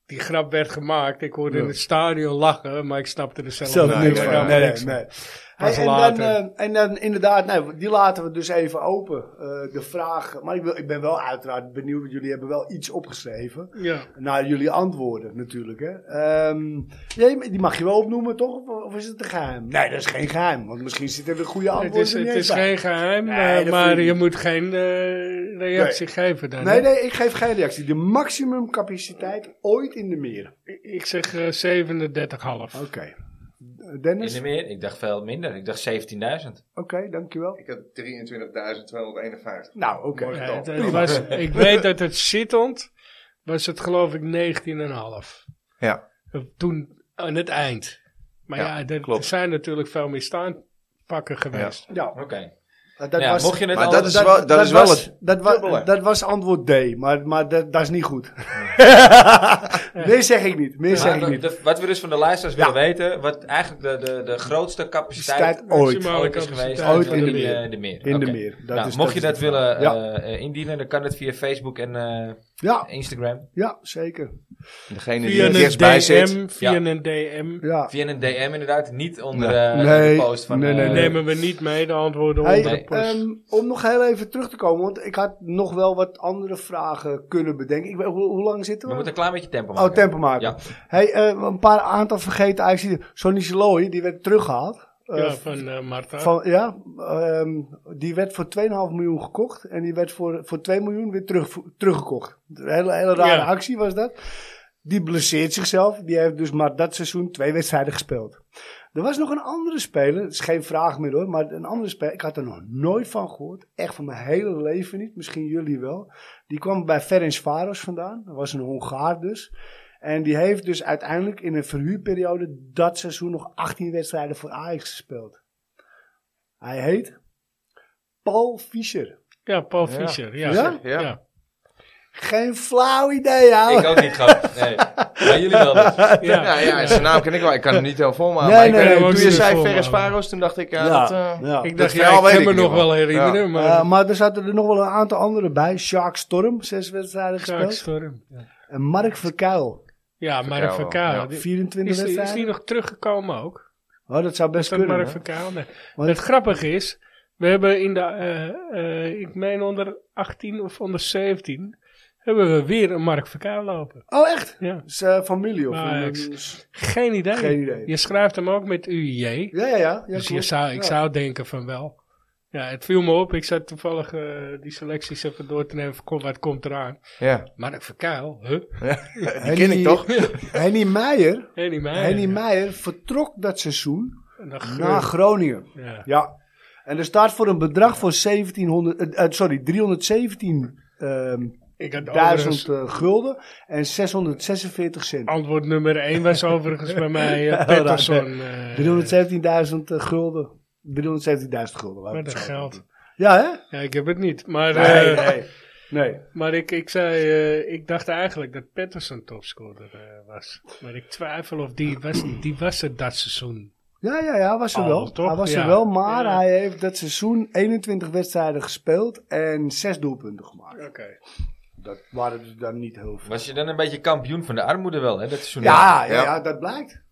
die grap werd gemaakt. Ik hoorde
Ja.
in het stadion lachen, maar ik snapte er zelf,
Zelf
Nee,
niks
nee,
van.
nee,
Nee, nee, nee.
Pas
Hey, en, dan,
later.
eh, en dan inderdaad, nou, die laten we dus even open, eh, de vraag. Maar ik, wil, ik ben wel uiteraard benieuwd, want jullie hebben wel iets opgeschreven.
Ja.
Naar jullie antwoorden natuurlijk. Hè. Ehm, ja, die mag je wel opnoemen, toch? Of, of is het een geheim? Nee, dat is geen geheim. Want misschien zitten er goede
Het
antwoorden
is,
er niet
het
eens
is
bij.
geen geheim,
Nee,
maar-
dat
maar
vind ik
je
niet.
moet geen eh, reactie geven dan.
Nee,
hè?
nee, ik geef geen reactie. De maximumcapaciteit ooit in de meer.
Ik zeg eh, 37,5.
Oké.
In
Dennis?
de
Oké,
meer? Ik dacht veel minder. Ik dacht 17.000.
dankjewel.
Ik had 23.251.
Nou, oké.
Mooi.
Ja, het- het was, ik weet dat het zittend was het geloof ik 19,5.
Ja.
Toen aan Oh, het eind. Maar ja,
Ja,
er,
klopt.
er zijn natuurlijk veel meer staanpakken geweest.
Ja,
Oké.
Nou, eh, dat
Ja,
was...
mocht je het
Maar
al-
dat is wel- dat is wel
was,
het
dat, wa,
dubbele.
dat was antwoord D, maar, maar dat, dat is niet goed. meer zeg ik niet, meer zeg
Maar
ik
wat-
niet.
de- wat we dus van de luisteraars
Ja.
willen weten, wat eigenlijk de, de, de grootste capaciteit
Tijd ooit.
Maximale
ooit is geweest
capaciteit
Ooit
van
in de
die,
meer.
eh, de meer.
In de
Oké.
meer. Dat
Nou,
is-
mocht je
is
dat
het.
willen eh,
Ja.
eh, indienen, dan kan het via Facebook en eh,
Ja,
Instagram.
ja, zeker.
Degene die
Via
er
een
dichtstbij zit.
DM, via
Ja.
een DM
Ja.
Via een DM inderdaad, niet onder
Nee.
eh,
Nee.
de post van...
Nee, nee,
eh,
nee.
nemen we niet mee de antwoorden
Hey,
onder de
Nee.
post.
ehm, om nog heel even terug te komen, want ik had nog wel wat andere vragen kunnen bedenken. Ik, weet- hoe, hoe lang
We
zitten we?
moeten een klein beetje tempo maken.
Oh, tempo maken.
Ja.
Hey, eh, een paar aantal vergeten eigenlijk. Sonny Sloy, die werd teruggehaald. Eh,
ja, van eh, Marta.
van, ja ehm, die werd voor 2,5 miljoen gekocht. En die werd voor, voor 2 miljoen weer terug, teruggekocht. Een hele, hele rare
Ja.
actie was dat. Die blesseert zichzelf. Die heeft dus maar dat seizoen twee wedstrijden gespeeld. Er was nog een andere speler. Het is geen vraag meer hoor. Maar een andere speler. Ik had er nog nooit van gehoord. Echt van mijn hele leven niet. Misschien jullie wel. Die kwam bij Ferencvaros vandaan. Dat was een Hongaar dus. En die heeft dus uiteindelijk in een verhuurperiode dat seizoen nog 18 wedstrijden voor Ajax gespeeld. Hij heet Paul Fischer.
ja, Paul
Ja.
Fischer. Ja.
Ja?
Ja.
Geen flauw idee, ouwe.
Ik ook niet, gauw. Nee. Maar jullie wel dus.
Ja.
Ja, ja, zijn naam ken ik wel. Ik kan hem niet helemaal volmaken.
Nee,
maar ik
nee,
weet
nee,
nog,
ik
toen
doe het
je zei
volmaken.
Ferris Paros, toen dacht ik... Ja,
Ja,
dat, eh,
ja.
Ik dacht, ja,
verhaal
ik
weet
kan
ik
me
niet
nog
meer.
wel herinneren,
Ja.
maar...
Eh, maar er zaten er nog wel een aantal anderen bij. Shark Storm, zes wedstrijden
Sjaak
gespeeld.
Storm. Ja,
En Mark Verkuil,
ja Mark
Verkuil,
Verkaal.
ja.
Die-
24
Is, die- is die
wedstrijden.
nog teruggekomen ook?
Oh, dat zou
Is
best
dat
kunnen.
Mark
hè?
Verkaal? Nee.
Want-
Het grappige is, we hebben in de, eh, eh, ik meen onder 18 of onder 17, hebben we weer een Mark Verkaal lopen.
Oh, echt?
Ja.
Is eh, familie of...
Nou,
een- eh,
ik- Geen idee.
Geen idee.
Je schrijft hem ook met UJ.
Ja, ja, ja. ja
dus je
klopt.
zou, ik
Ja.
zou denken van wel. Ja, het viel me op. Ik zat toevallig eh, die selecties even door te nemen. van, Kom, wat komt eraan?
ja.
Mark Verkaal, huh?
Die ken ik toch?
Eh, Henny Meijer,
Henny Meijer.
Henny Meijer vertrok dat seizoen
Naar Geur.
naar Groningen.
Ja.
Ja. En er staat voor een bedrag van 1700, eh, eh, sorry, 317 ehm,
Ik had overigens-
duizend eh, gulden en 646 cent.
Antwoord nummer 1 was overigens bij mij eh, Pettersson. eh,
317.000 eh, gulden. 317.000 gulden. laat ik
Met
het
dat
zo
geld.
zeggen. Ja, hè?
Ja, ik heb het niet. Maar,
Nee,
eh,
nee. nee.
maar ik, ik zei, eh, ik dacht eigenlijk dat Pettersson topscorer eh, was. Maar ik twijfel of die was, die was het dat seizoen.
Ja, ja, ja, hij was er
Oh,
wel.
toch?
Hij was
Ja.
er wel, maar
Ja.
hij heeft dat seizoen 21 wedstrijden gespeeld en 6 doelpunten gemaakt.
Oké.
Dat waren er dan niet heel veel.
Was je dan een beetje kampioen van de armoede wel, hè? Dat seizoen
Ja, ja,
Ja.
ja, dat blijkt.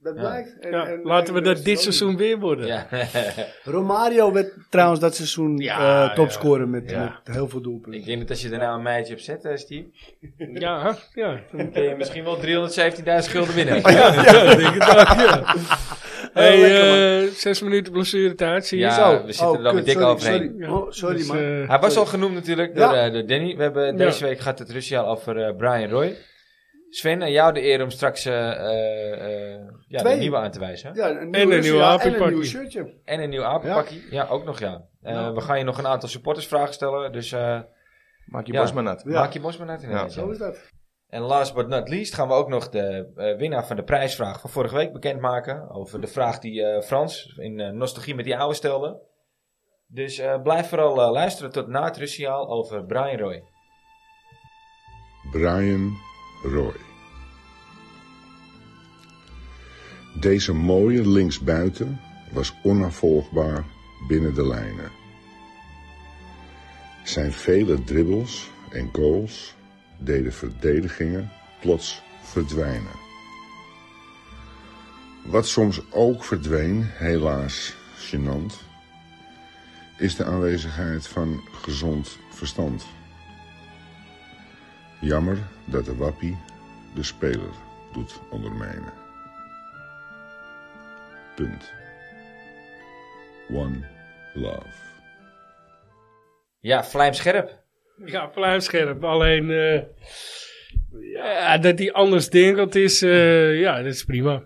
Dat blijkt. En- en-
laten we
en
dat
is
dit
ook
seizoen weer worden.
Ja.
niet. Romario werd trouwens dat seizoen
Ja,
eh, topscorer met,
Ja.
met heel veel doelpunten.
Ik denk dat als je er nou een meidje op zet, eh, Steve,
Ja, ja.
dan kun je misschien wel 317.000 gulden winnen.
Ja, denk het ook, ja. Hey,
lekker,
eh, zes minuten blessuretijd, zie je
Ja,
zo.
we zitten er dan
Oh, kut,
weer dik
sorry,
overheen.
Sorry, oh, sorry
Dus,
man.
eh,
Hij was al genoemd natuurlijk
Ja.
door, eh, door Danny. We hebben deze
Ja.
week gehad het Russiaal over eh, Brian Roy. Sven, aan jou de eer om straks eh, eh, eh, ja, de
Twee.
nieuwe aan te wijzen.
ja, een
en een nieuwe
ja, En
apenpakkie.
een nieuw shirtje.
En een nieuw apenpakkie. Ja, ook nog ja. Eh,
Ja.
We gaan je nog een aantal supportersvragen stellen. Dus eh,
Maak je
Ja.
bos maar nat.
Ja.
maak je bos maar net ineens.
Zo is dat.
En last but not least gaan we ook nog de eh, winnaar van de prijsvraag van vorige week bekendmaken. Over de vraag die eh, Frans in eh, Nostalgie met die oude stelde. Dus eh, blijf vooral eh, luisteren tot na het Russiaal over Brian Roy.
Brian Roy. Deze mooie linksbuiten was onafvolgbaar binnen de lijnen. Zijn vele dribbels en goals deden verdedigingen plots verdwijnen. Wat soms ook verdween, helaas gênant, is de aanwezigheid van gezond verstand. Jammer dat de wappie de speler doet ondermijnen. Punt. One love.
Ja, vlijmscherp.
Ja, pluimscherp. Alleen eh, ja, dat hij anders denkend is, eh, ja, dat is prima.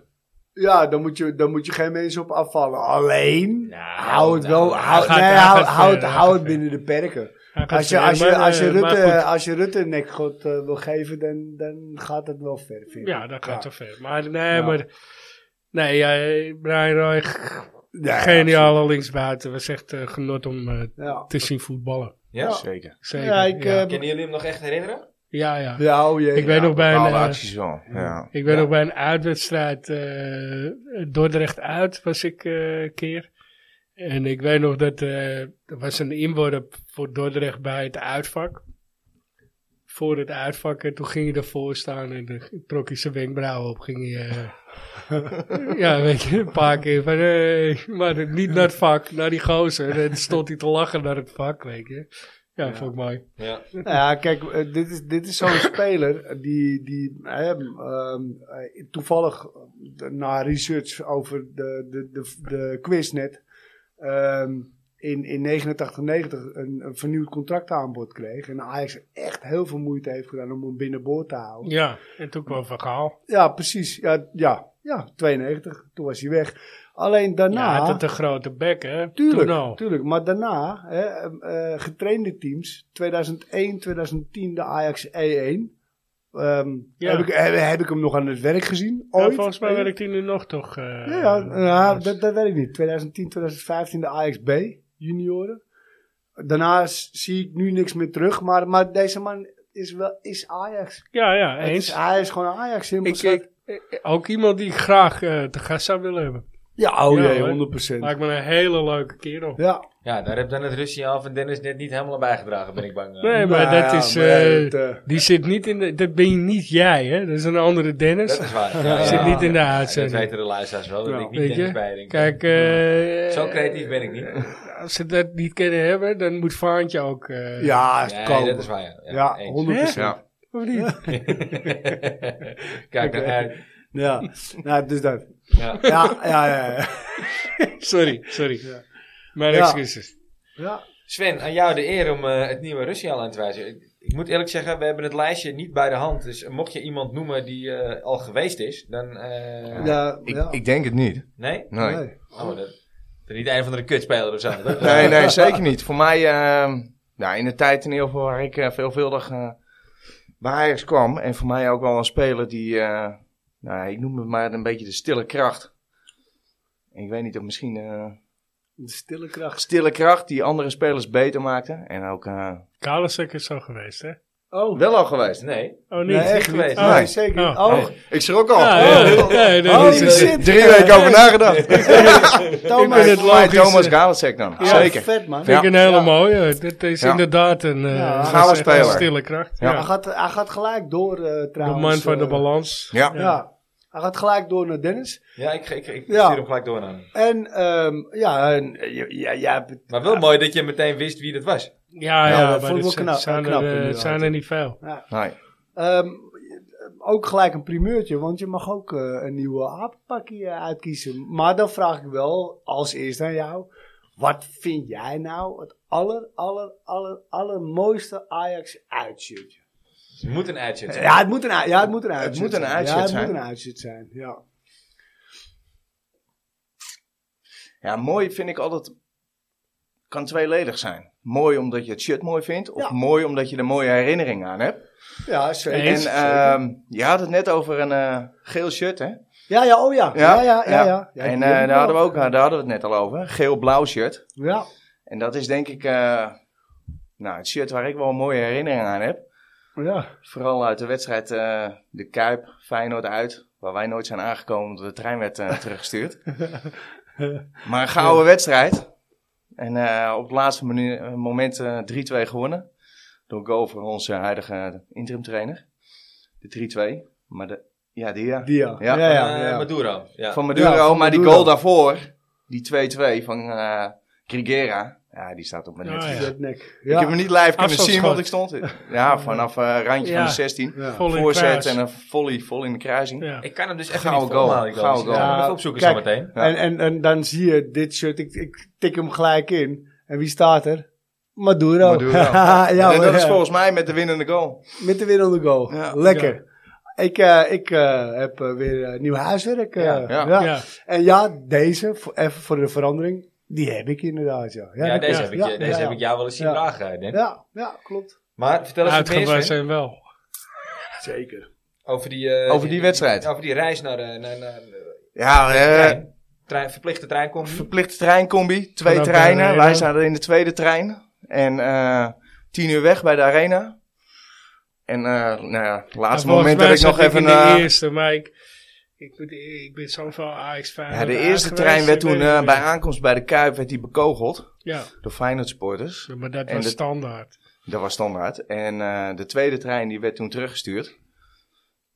Ja, dan moet, je, dan moet je geen mensen op afvallen. Alleen,
Nou,
hou het wel,
nou,
hou,
gaat-
nee,
hij
hou,
gaat
hou het,
ver,
hou
hij
het
gaat
binnen de perken.
Hij gaat
Als je,
verder,
als, je,
maar,
als, je
eh, maar
Rutte,
goed.
eh, als je Rutte een nekgod eh, wil geven, dan, dan gaat het wel ver. vind ik.
Ja, dat gaat
Ja. Nou.
te ver. Maar nee,
Ja.
maar... Nee, ja, Brian Roy,
Ja,
geniale linksbuiten. Was echt eh, genot om eh,
Ja.
te zien voetballen.
Ja?
Zeker.
Zeker.
Ja, ik,
ja.
eh,
Kunnen jullie hem nog echt herinneren?
ja, ja.
ja, oh jee.
Ik weet nog bij een,
Alle
eh,
acties wel. Ja.
ik ben
Ja.
nog bij een uitwedstrijd, eh, Dordrecht uit was ik eh, een keer. En ik weet nog dat eh, er was een inworp voor Dordrecht bij het uitvak. Voor het uitvak. En toen ging hij ervoor staan en dan trok hij zijn wenkbrauwen op. Ging hij, eh, ja, weet je, een paar keer van hey, maar niet naar het vak, naar die gozer. En dan stond hij te lachen naar het vak, weet je. Ja, vond ik mooi.
Ja.
Nou ja, kijk, eh, dit is, dit is zo'n speler die, die eh, ehm, eh, toevallig eh, na research over de, de, de, de quiz net ehm, in, in 89, 90 een, een vernieuwd contractaanbod kreeg. En Ajax echt heel veel moeite heeft gedaan om hem binnenboord te houden.
Ja, en toen kwam Van Gaal.
Ja, precies. Ja, ja, ja 92. Toen was hij weg. Alleen daarna...
Ja, hij had een grote bek, hè.
Tuurlijk,
Toen al.
tuurlijk. Maar daarna, hè, eh, eh, getrainde teams, 2001, 2010 de Ajax E1. Ehm,
Ja.
heb, ik, heb, heb ik hem nog aan het werk gezien?
Ja,
Ooit?
volgens mij werkt hij nu nog toch. eh,
Ja, ja, ja,
dus-
dat, dat weet ik niet. 2010, 2015 de Ajax B, junioren. Daarna s- zie ik nu niks meer terug. Maar, maar deze man is, wel, is Ajax.
Ja, ja,
Het is
eens.
Ajax gewoon Ajax. Simpel
Ik,
zat.
ik, ik- ook iemand die ik graag eh, te gast zou willen hebben.
ja, oh
Ja,
jee,
hoor.
100%.
Lijkt me een hele leuke kerel.
Ja,
Ja, daar heb dan het Russie al van Dennis net niet helemaal aan bijgedragen, ben ik bang. eh.
Nee, maar
Nou
dat
ja,
is...
maar
eh,
het, eh,
die zit niet in de... Dat ben je niet jij, hè? Dat is een andere Dennis.
Dat is waar. Ja, ja.
Zit niet in de
Dat
uitzending.
weten de luisteraars wel, dat
Ja,
ik niet
weet
Dennis
je?
bij denk.
Kijk, eh,
Zo creatief ben ik niet.
als ze dat niet kunnen hebben, dan moet Vaantje ook... eh,
ja,
Nee,
komen.
dat is waar. Ja,
Ja,
eens.
100%.
Ja.
Of niet?
Kijk,
Oké.
eh,
Ja, nou, dus dat.
ja.
Ja, ja, ja. ja.
sorry, sorry.
Ja.
Mijn
Ja.
excuses.
ja.
Sven, aan jou de eer om eh, het nieuwe Russiaal aan te wijzen. Ik, ik moet eerlijk zeggen, we hebben het lijstje niet bij de hand. Dus mocht je iemand noemen die eh, al geweest is, dan... eh,
ja,
Ik,
ja.
ik denk het niet.
Nee?
Nee.
Nee.
Oh, dat, dat niet een van de kutspeler of zo. Dat-
Nee, nee, zeker niet. Voor mij, eh, nou, in de tijd in ieder geval waar ik eh, veelvuldig eh bij Ajax kwam. En voor mij ook wel een speler die, eh, nou, ik noem het maar een beetje de stille kracht. Ik weet niet of misschien eh,
De stille kracht.
stille kracht die andere spelers beter maakte. En ook eh,
Kalasek is zo geweest, hè?
Oh,
wel al geweest.
Nee.
Oh, niet?
nee, echt
geweest.
geweest.
Oh.
Nee, zeker. niet.
Oh.
Oh,
Ik schrok al.
Ja, ja, ja, ja, dat
Oh,
is-
die shit.
Drie weken over nagedacht.
Thomas.
ben het
Voor mij
logisch,
Thomas
eh,
Galasek dan.
Ja,
Zeker.
Vet, man.
Vind ik een hele
Ja.
mooie. Dit is
Ja.
inderdaad een, eh
Ja, een
gouden
een
speler.
stille kracht. Ja.
Ja.
Hij, gaat, hij gaat gelijk door, eh,
De
trouwens.
man van de
eh,
balans.
Ja.
Ja. Hij gaat gelijk door naar Dennis.
Ja, ik, ik, ik
Ja.
stuur hem gelijk door naar hem.
En, ehm, ja, en, eh, ja, ja, ja,
Maar wel mooi dat je meteen wist wie dat was.
Ja,
Ja,
ja,
dat
maar
vond ik
dat
wel
zijn-
knap-
zijn,
knap
er, eh,
inderdaad.
zijn er niet veel.
Nee.
ehm, ook gelijk een primeurtje, want je mag ook eh, een nieuwe apenpakje eh, uitkiezen. Maar dan vraag ik wel als eerst aan jou, wat vind jij nou het aller, aller, aller, allermooiste Ajax uitshirtje?
Het moet een uitje zijn.
Ja, het moet een, ui- ja, het moet een uitzet
moet een
zijn.
uitzet
ja, het
zijn.
moet een uitzet zijn, ja.
Ja, mooi vind ik altijd. Kan tweeledig zijn. Mooi omdat je het shit mooi vindt, of
Ja.
mooi omdat je er mooie herinnering aan hebt.
Ja, zeker.
Eens.
en
Zeker.
ehm, je had het net over een eh, geel shirt, hè?
ja, ja, oh ja. Ja, ja, ja. ja, Ja,
en
die
eh,
heb ik
daar, hadden we
wel.
ook, daar hadden we het net al over. Geel-blauw shirt.
Ja,
En dat is denk ik eh, nou, het shirt waar ik wel een mooie herinnering aan heb.
ja.
Vooral uit de wedstrijd eh, De Kuip, Feyenoord uit. Waar wij nooit zijn aangekomen omdat de trein werd eh, teruggestuurd. maar een gouden wedstrijd. En eh, op het laatste menu- eh, moment eh, 3-2 gewonnen. Door goal voor onze huidige interim trainer. De 3-2. Maar de, ja, die ja.
Die ja.
Ja.
Ja, ja, ja.
Eh, Maduro. Ja.
Van Maduro,
Ja, van
maar die
Maduro.
goal daarvoor. Die 2-2 van eh Grigera. Ja, die staat op mijn
Ja,
net.
Oh, ja.
Dat nek.
Ik heb
Ja.
hem niet live kunnen
Afstandsschot.
zien, want ik stond... Ja, vanaf eh randje
Ja.
van de 16
Ja.
Vol in
voorzet
kruis.
en een volley vol in de kruising.
Ja.
Ik kan hem dus echt
Gouden
niet
goal.
volhouden.
Gouden
Gouden goal.
goal.
Ja,
Ja,
even opzoeken
kijk.
zo meteen.
Ja.
En, en, en dan zie je dit shirt. Ik, ik tik hem gelijk in. En wie staat er? Maduro.
Maduro.
ja,
en
hoor,
dat is
ja.
volgens mij met de winnende goal.
Met de winnende goal.
Ja.
Lekker. Ik, eh, ik eh, heb eh, weer eh, nieuw huiswerk. eh,
Ja,
ja.
Ja.
En ja, deze, voor, even voor de verandering, die heb ik inderdaad. Ja,
Ja,
die
deze,
klopt.
heb, ik,
Ja,
je- deze
ja,
heb ik jou wel eens zien
Ja.
dragen, Den.
Ja, ja, klopt.
Maar vertel eens wat meer,
Uitgebreid
Sven,
zijn wel.
Zeker.
over die, eh,
Over die wedstrijd.
Over die reis naar, eh, naar, naar de
Ja, eh
trein. Trein- verplichte treincompagnie.
verplichte treincombi. Twee
Vanaf de
treinen.
arena.
Wij zaten in de tweede trein. En eh tien uur weg bij de arena. En eh nou ja, het laatste
Ja, volgens
moment
mij
dat ik
zat
nog even...
in de
eh,
eerste, maar ik, ik, moet- ik ben zoveel ax fan
ja, de eerste trein werd toen eh, bij aankomst bij de Kuip werd die bekogeld.
Ja,
Door Feyenoord supporters.
maar dat
En
was
de-
standaard.
Dat was standaard. En eh, de tweede trein die werd toen teruggestuurd.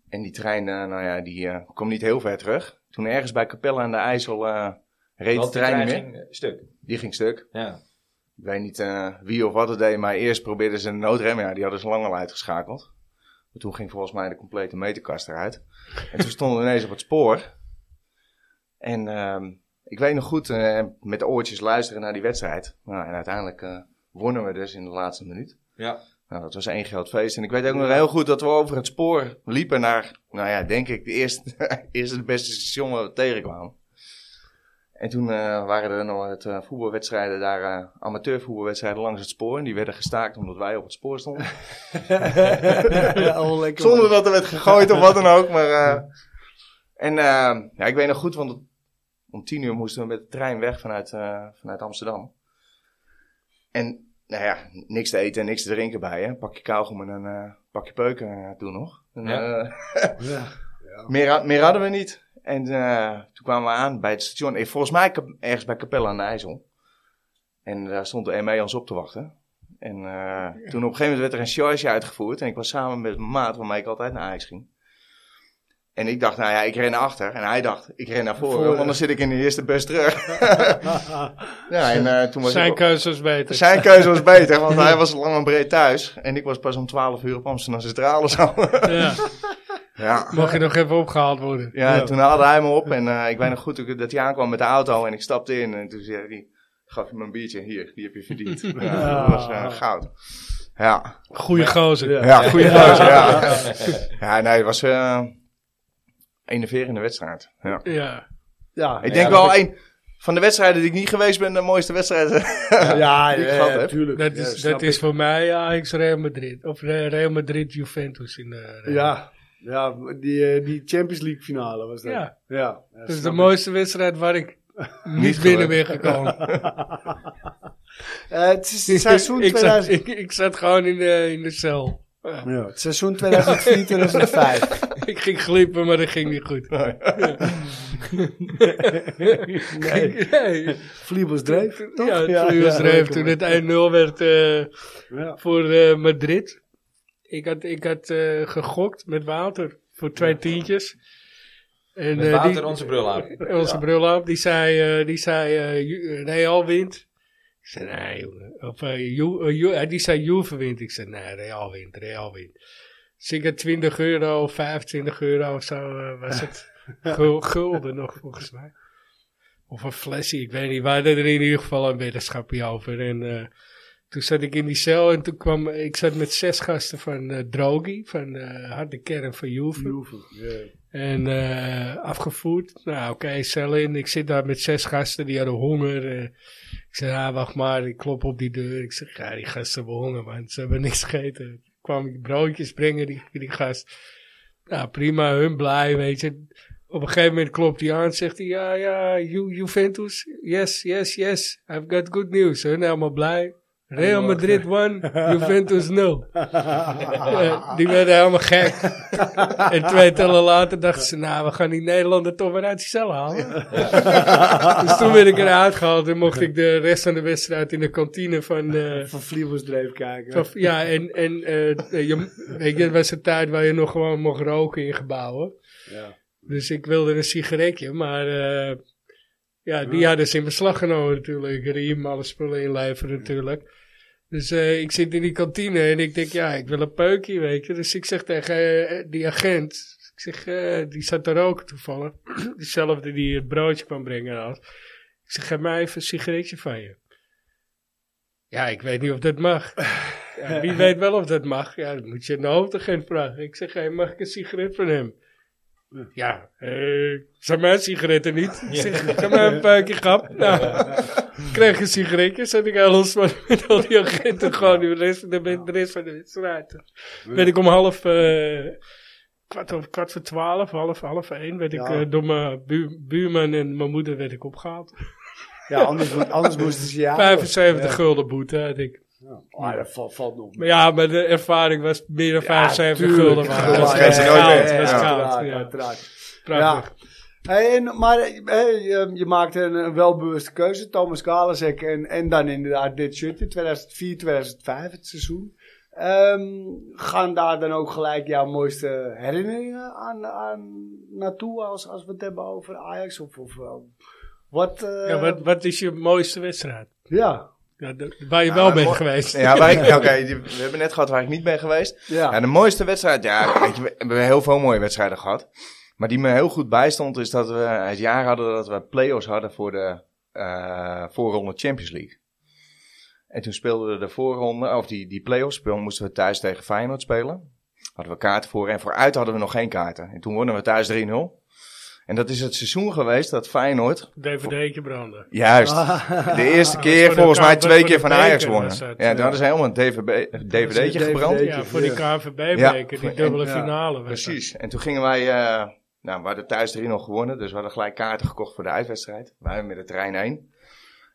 En die trein, eh, nou ja, die eh, kwam niet heel ver terug. Toen ergens bij Capelle aan de IJssel eh, reed de
Want die
trein niet meer.
ging, eh, stuk.
Die ging stuk.
Ja.
Ik weet niet eh, wie of wat het deed, maar eerst probeerden ze een noodrem. Ja, die hadden ze lang al uitgeschakeld. Maar toen ging volgens mij de complete meterkast eruit. En toen stonden we ineens op het spoor. En ehm, ik weet nog goed, eh, met de oortjes luisteren naar die wedstrijd. Nou, en uiteindelijk eh, wonnen we dus in de laatste minuut.
Ja.
Nou, dat was één groot feest. En ik weet ook nog heel goed dat we over het spoor liepen naar, nou ja, denk ik, de eerste, eerste het beste station waar we tegenkwamen. En toen eh, waren er nog wat eh, voetbalwedstrijden, daar eh, amateurvoetbalwedstrijden langs het spoor. En die werden gestaakt omdat wij op het spoor stonden.
ja, oh, lekker.
Zonder dat er werd gegooid of wat dan ook. Maar, eh, en eh, ja, ik weet nog goed, want om tien uur moesten we met de trein weg vanuit, eh, vanuit Amsterdam. En nou ja, niks te eten en niks te drinken bij je. Pak je kauwgom en een eh, pakje peuken eh, toen nog. En,
Ja.
eh, meer, had- meer hadden we niet. En eh, toen kwamen we aan bij het station. Eh, Volgens mij kap- ergens bij Capelle aan de IJssel. En daar stond de ME ons op te wachten. En eh, toen op een gegeven moment werd er een charge uitgevoerd. En ik was samen met mijn maat waarmee ik altijd naar IJs ging. En ik dacht, nou ja, ik ren naar achter. En hij dacht, ik ren naar voren.
Voren.
Want anders zit ik in de eerste bus terug. ja, en eh, toen was ik
Zijn
ook-
keuzes beter.
zijn keuze was beter, want hij was lang en breed thuis. En ik was pas om 12 uur op Amsterdam Centraal of zo.
Ja.
Ja.
Mocht je nog even opgehaald worden.
Ja, en toen haalde hij me op en eh, ik weet nog goed dat hij aankwam met de auto en ik stapte in. En toen zei hij, gaf hij me een biertje, hier, die heb je verdiend. Ja, dat was eh, goud. Ja,
Goeie gozer.
Ja.
ja goede keuze, ja. Ja, nee, het was eh enerverende wedstrijd. Ja.
Ja.
Ja,
Ik denk
ja,
wel
dat-
één van de wedstrijden die ik niet geweest ben, de mooiste wedstrijd.
Ja, ja,
die ik gehad
ja,
heb.
tuurlijk.
Dat
Ja,
is,
snap
dat is
ik.
voor mij Ajax Real Madrid. Of eh, Real Madrid Juventus in eh, de Real.
Ja, ja die, eh, die Champions League finale was dat.
Ja.
ja, ja,
Dat is de
snap ik.
mooiste wedstrijd waar ik niet
Niet
binnen ben
gelukt.
gekomen.
Eh, het is het seizoen
ik, zat,
2000...
ik, ik zat gewoon in de, in de cel.
Ja, het seizoen 2004, 2005.
ik ging gliepen, maar dat ging niet goed.
Nee,
Nee.
Vliebels dreef, toch?
Ja, toen, was er even, toen
ja.
het 1-0 werd eh,
Ja.
voor eh, Madrid. Ik had, ik had eh, gegokt met Wouter voor twee tientjes. En,
Met
eh,
Wouter
die-
onze brul aan.
onze brulhap, die zei, eh, die zei eh, Ju- Real wint. Ik zei, nee, jongen. Of, eh, Ju- eh, Ju- eh, die zei, Juve wint. Ik zei, nee, Real wint, Real wint. Dus ik had 20 euro, 25 euro of zo eh, was het. Gul- Gulden nog, volgens mij. Of een flesje, ik weet niet. Wij hadden er in ieder geval een weddenschapje over. En eh, toen zat ik in die cel en toen kwam... Ik zat met zes gasten van eh Drogi, van eh harde kern van Juve.
Juve, ja.
En eh, afgevoerd. Nou, oké, cel in. Ik zit daar met zes gasten, die hadden honger. eh. ik zeg, ah, wacht maar, ik klop op die deur. Ik zeg, ja, die gasten hebben honger, man. Ze hebben niks gegeten. Toen kwam ik broodjes brengen, die, die gast. Nou, prima, hun blij, weet je. Op een gegeven moment klopt hij aan, zegt hij, ja, ja, Ju- Juventus, yes, yes, yes, I've got good news. Hun helemaal blij. Real Madrid won, Juventus 0. Eh, die werden helemaal gek. en twee tellen later dachten ze, nou, we gaan die Nederlander toch weer uit die cel halen. dus toen werd ik eruit gehaald en mocht ik de rest van de wedstrijd in de kantine van... eh,
Van Vliebels dreef kijken.
van- ja, en, en eh, je, weet je, het was een tijd waar je nog gewoon mocht roken in gebouwen.
Ja.
Dus ik wilde een sigaretje, maar eh, ja, die hadden ze in beslag genomen natuurlijk. Riem, alle spullen inleveren natuurlijk. Dus eh, ik zit in die kantine en ik denk, ja, ik wil een peukje, weet je. Dus ik zeg tegen eh, die agent, ik zeg, eh, die zat daar ook toevallig. Diezelfde die het broodje kwam brengen had. Ik zeg, geef mij even een sigaretje van je. Ja, ik weet niet of dat mag. Ja, wie weet wel of dat mag? Ja, dan moet je een hoofdagent vragen. Ik zeg, hey, mag ik een sigaret van hem? Ja, eh, zijn mijn sigaretten niet? Ik zeg, ga maar een puikje grap. Nou, ik kreeg een sigaretje, zat ik aan los met, met al die agenten gewoon de rest, de, de rest van de wedstrijd. Ben ik om half, eh, kwart, over, kwart voor twaalf, half, half één, werd ik
Ja.
eh, door mijn bu- buurman en mijn moeder werd ik opgehaald.
Ja, anders, moet- anders moesten ze ja.
75 gulden boete had ik.
Ah, dat valt, valt nog mee.
Maar ja, maar de ervaring was meer dan 75 gulden.
Tuurlijk.
waard. Dat is
Ja,
geeft
echt
ze
ja,
nooit
goud,
meer.
dat is
Ja.
goud,
uiteraard,
ja.
uiteraard.
Prachtig.
Hey, en, maar hey, ehm, je, je maakte een, een welbewuste keuze. Thomas Kalasek en, en dan inderdaad dit shirtje. 2004, 2005 het seizoen. Ehm, gaan daar dan ook gelijk jouw mooiste herinneringen aan, aan naartoe als, als we het hebben over Ajax? Of, of eh, wat, eh,
Ja, wat, wat is je mooiste wedstrijd?
Ja,
Ja, de- waar je
Ja,
wel
maar
bent
mooi-
geweest.
Ja, waar ik- oké, die- we hebben net gehad waar ik niet ben geweest.
ja.
Ja, de mooiste wedstrijd. Ja, weet je, we hebben heel veel mooie wedstrijden gehad. Maar die me heel goed bijstond is dat we het jaar hadden dat we play-offs hadden voor de eh, voorronde Champions League. En toen speelden we de voorronde, of die, die play-offs speel, moesten we thuis tegen Feyenoord spelen. Hadden we kaarten voor en vooruit hadden we nog geen kaarten. En toen wonnen we thuis 3-0. En dat is het seizoen geweest dat Feyenoord,
DVD'tje branden.
juist, de eerste keer
voor de
volgens mij
kaart-
twee
voor de
keer van
beker
Ajax
was
wonnen.
het,
Ja,
ja.
toen hadden ze helemaal een DVB DVD'tje gebrand.
DVD'tje.
Ja, voor die
Ja,
KNVB-beker, die
voor-
dubbele
en- ja,
finale. was dat.
Precies. En toen gingen wij, eh, nou, we hadden thuis 3-0 gewonnen, dus we hadden gelijk kaarten gekocht voor de uitwedstrijd. Wij met de trein heen.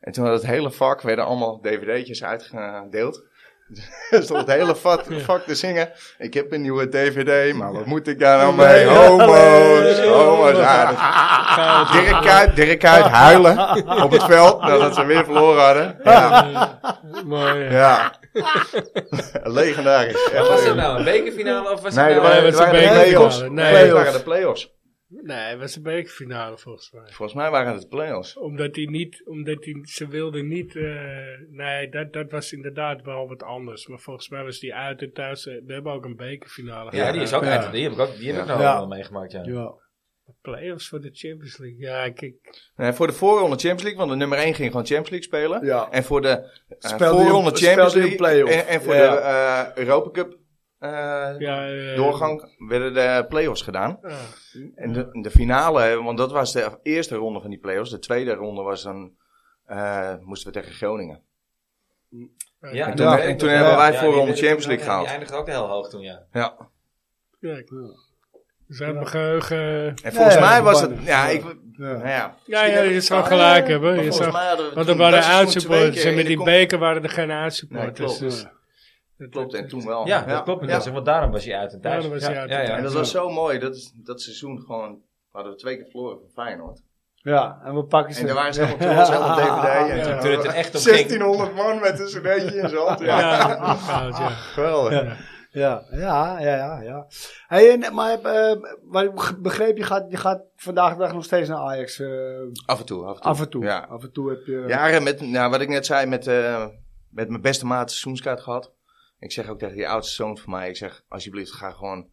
En toen had het hele vak, werden allemaal dvd'tjes uitgedeeld. Er stond het hele vat, vak te zingen. Ik heb een nieuwe dvd, maar wat moet ik daar nou mee? Homo's, homo's. Ja, dat- Dirk Kuyt, Dirk Kuyt huilen op het veld nadat ze weer verloren hadden. Ja,
Mooi. hè.
ja. legendarisch.
Wat
Echt
was dat
leuk.
nou? Een bekerfinale of was
Nee,
het
dat
nou...
waren,
Nee,
dat
dat
waren de
is een
play-offs.
bekerfinale.
Nee,
Nee,
dat
dat
waren
is-
de play-offs.
Nee, het was een bekerfinale volgens mij.
Volgens mij waren het de play-offs.
Omdat hij niet, omdat hij, ze wilden niet, eh, nee, dat, dat was inderdaad wel wat anders. Maar volgens mij was die uit en thuis, eh, we hebben ook een bekerfinale.
Ja, die is ook
Ja.
uit. Die heb ik ook, die heb ik
Ja.
nog
Ja.
wel meegemaakt, ja.
Ja.
Playoffs voor de Champions League. Ja, kijk.
Nee, voor de voorronde Champions League, want de nummer 1 ging gewoon Champions League spelen.
Ja.
En voor de eh,
Speelde die
voorronde
op-
Champions
speelde die
League
op play-off.
en, en voor
Ja.
de eh, Europa Cup eh,
Ja, eh, ah,
doorgang werden de play-offs gedaan.
ja.
En de, de finale, want dat was de eerste ronde van die play-offs. De tweede ronde was dan, eh, moesten we tegen Groningen.
Ja,
En toen-
dat
en
weet ik
toen
nog.
hebben wij
die
voorronde
werd-
Champions League gehaald.
Die eindigde ook heel hoog toen, ja.
Ja.
Ja, ik- we zijn mijn geheugen.
En volgens
Ja, ja,
mij was
verbannen.
het, ja,
Ja.
ik, nou ja.
Ja, ja, je zou gelijk hebben. Je zou- want er Oh, waren uitsupporters en met die
beker.
beker waren er geen
Nee, klopt.
uitsupporters. dus dat-
Klopt, en toen wel.
Ja, dat klopt. inderdaad, Want daarom was hij uit en thuis.
Daarom was hij uit en
ja, ja.
En
thuis.
dat was zo mooi, dat, dat seizoen gewoon, hadden we twee keer verloren van Feyenoord.
ja, en we pakken ze.
En daar waren ze helemaal trots, helemaal DVD. En
Ja.
toen
Toen het er echt om ging.
1600 man met een cd'tje in zijn hand.
Ja,
Ja,
ja, fout, ja.
geweldig.
Ja, ja, ja, ja. ja. Hey, en, maar eh, wat ik beg- begreep, je gaat, je gaat vandaag de dag nog steeds naar Ajax. eh,
Af en toe, af en toe.
af en toe.
Ja.
Af en toe heb je...
Jaren met, nou, wat ik net zei, met, eh, met mijn beste maat seizoenskaart gehad. Ik zeg ook tegen die oudste zoon van mij, ik zeg, alsjeblieft, ga gewoon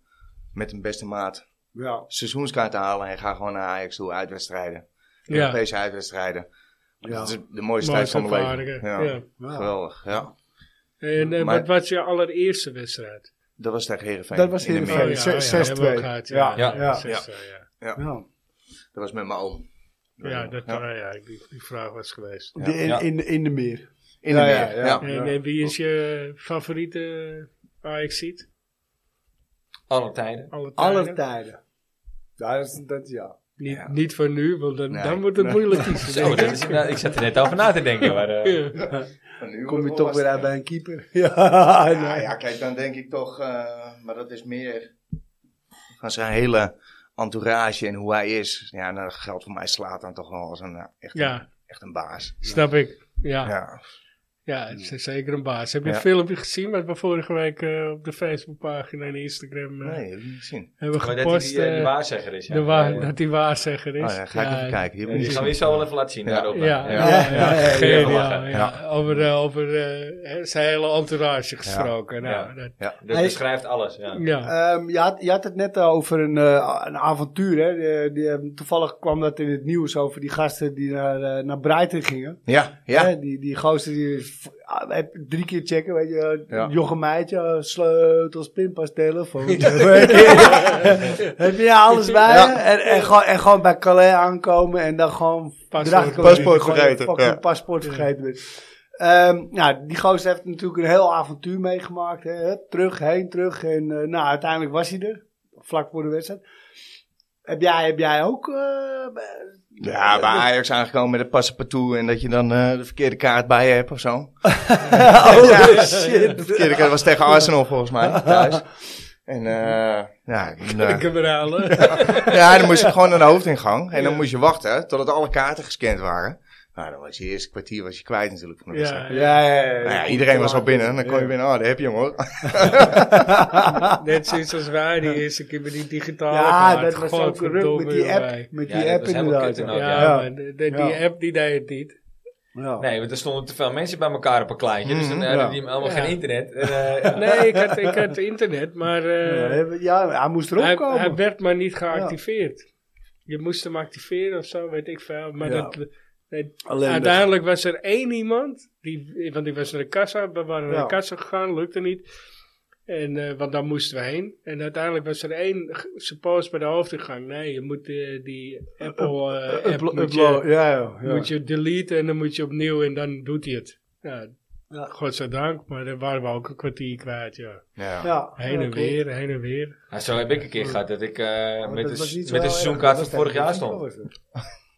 met een beste maat
ja.
seizoenskaart halen en ga gewoon naar Ajax toe, uitwedstrijden.
Ja.
Europese uitwedstrijden.
Ja.
Dat is de mooiste
Mooi
tijd van mijn
ervaren,
leven.
ja.
Ja.
Ja.
Geweldig, ja.
En eh,
Maar-
wat was je allereerste wedstrijd? Oh,
Dat was tegen Heerenveen.
Dat was
in de
Heerenveen.
meer.
zes- zes-
hebben we ook
twee.
gehad,
Ja,
ja,
ja,
ja,
ja.
zes- ja.
Ja.
Dat was met mijn oom.
Ja, dat,
Ja.
nou ja, die, die vraag was geweest.
Die In,
Ja.
in, in de meer.
In de
Ja,
meer,
ja, ja.
ja.
En, eh, wie is je favoriete Ajax-seat?
Alle tijden.
Alle tijden?
Alle tijden. Ja, dat is, dat, ja.
Niet, niet van nu, want dan,
Nee.
dan wordt het
Nee.
moeilijk kiezen.
Zo,
denk ik.
dat is inderdaad- ik zat er net over na te denken. Maar, eh,
Ja.
Kom je toch weer uit bij een keeper. Ja,
Ja,
nee.
ja, kijk, dan denk ik toch, eh, maar dat is meer van zijn hele entourage en hoe hij is. Ja, dan geldt voor mij slaat dan toch wel als een, eh, echt, een,
Ja,
echt een baas.
snap ik. Ja, ja.
Ja.
het is zeker een baas. Heb je
Ja.
een filmpje gezien wat we vorige week eh, op de Facebookpagina en Instagram eh,
Nee, heb ik niet gezien.
hebben
maar dat
gepost?
hij eh, de
eh,
waarzegger is. Ja.
de waar-
Ja,
dat die waarzegger is.
Oh, ja, ga ik even kijken. Hier
ja,
moet
die
ik
gaan we
zien.
je zo wel even laten zien.
Ja.
daarop.
Ja, ja,
ja.
ja,
Ja, ja, ja.
geniaal,
Ja.
ja. Over, eh, over eh, hè, zijn hele entourage gesproken.
Ja.
Nou, dat-
Dat
Hey.
beschrijft alles. Ja.
ja.
Ehm, je, had, je had het net over een, eh, een avontuur. Hè? Die, die, eh, toevallig kwam dat in het nieuws over die gasten die naar, eh, naar Brighton gingen.
Ja, ja.
Hè? Die, die gozer die is v- ah, heb- drie keer checken. Weet je,
Ja.
Jochem Meijtje, eh, sleutels, pinpas, telefoon. Weet je? heb je daar alles bij?
Ja.
je? En, en, gewoon, en gewoon bij Calais aankomen en dan gewoon
Paspoort.
erachter komen dat je
Paspoort
gewoon
vergeten,
je fucking
ja.
paspoort vergeten bent. Ehm, nou, die gozer heeft natuurlijk een heel avontuur meegemaakt. Hè? Hup, Terug, heen, terug. En eh, nou, uiteindelijk was hij er. Vlak voor de wedstrijd. Heb jij, heb jij ook... eh,
Ja, bij Ajax aangekomen met een passepartout en dat je dan eh, de verkeerde kaart bij je hebt of zo.
oh
Ja. De
shit.
verkeerde kaart was tegen Arsenal volgens mij, thuis. En eh ja, en, eh,
Ik heb er halen.
Ja, dan moest je gewoon naar de hoofdingang. En dan moest je wachten totdat alle kaarten gescand waren. Nou, dan was je eerste kwartier was je kwijt natuurlijk van de wedstrijd.
Ja,
Ja, ja, ja.
Nou ja, iedereen was al binnen. en Dan kon je binnen, oh, daar heb je hem hoor.
Net zoiets als wij die eerste keer met die digitale
Ja,
kaart.
dat was ook een ruk
Godverdomme,
met die
jongen.
app. Met
Ja,
die
dat
app
was helemaal
inderdaad.
kut
Ja,
inderdaad,
ja. Ja.
maar de- de- die
Ja.
app die deed het niet.
Ja.
Nee, want er stonden te veel mensen bij elkaar op een kleintje. Dus dan
Mhm,
hadden
ja.
die allemaal
Ja.
geen internet. En, eh, ja.
Nee, ik had, ik had internet, maar
Ja,
eh,
hij- ja, hij moest erop
hij,
komen.
hij werd maar niet geactiveerd. Je moest hem activeren of zo, weet ik veel. Maar
Ja.
dat, nee,
Alleen
uiteindelijk was er één iemand, die, want die was naar de kassa, we waren naar
Ja.
de kassa gegaan, lukte niet. En, eh, want daar moesten we heen. En uiteindelijk was er één g- suppose bij de hoofdingang. Nee, je moet eh, die Apple eh, app
Uplo-
moet je-
upload, ja, ja, ja.
moet je deleten en dan moet je opnieuw en dan doet hij het. Ja,
Ja.
godzijdank, maar daar waren we ook een kwartier kwijt, ja.
Ja.
Ja, ja,
Ah, Heen en
klopt.
weer, heen en weer.
Nou, zo heb ik een keer gehad dat ik eh,
Maar
met,
dat
de,
was niet zo
met de
heel erg.
seizoenkaart
Dat
van
was
vorig jaar
tegen
stond.
Benfica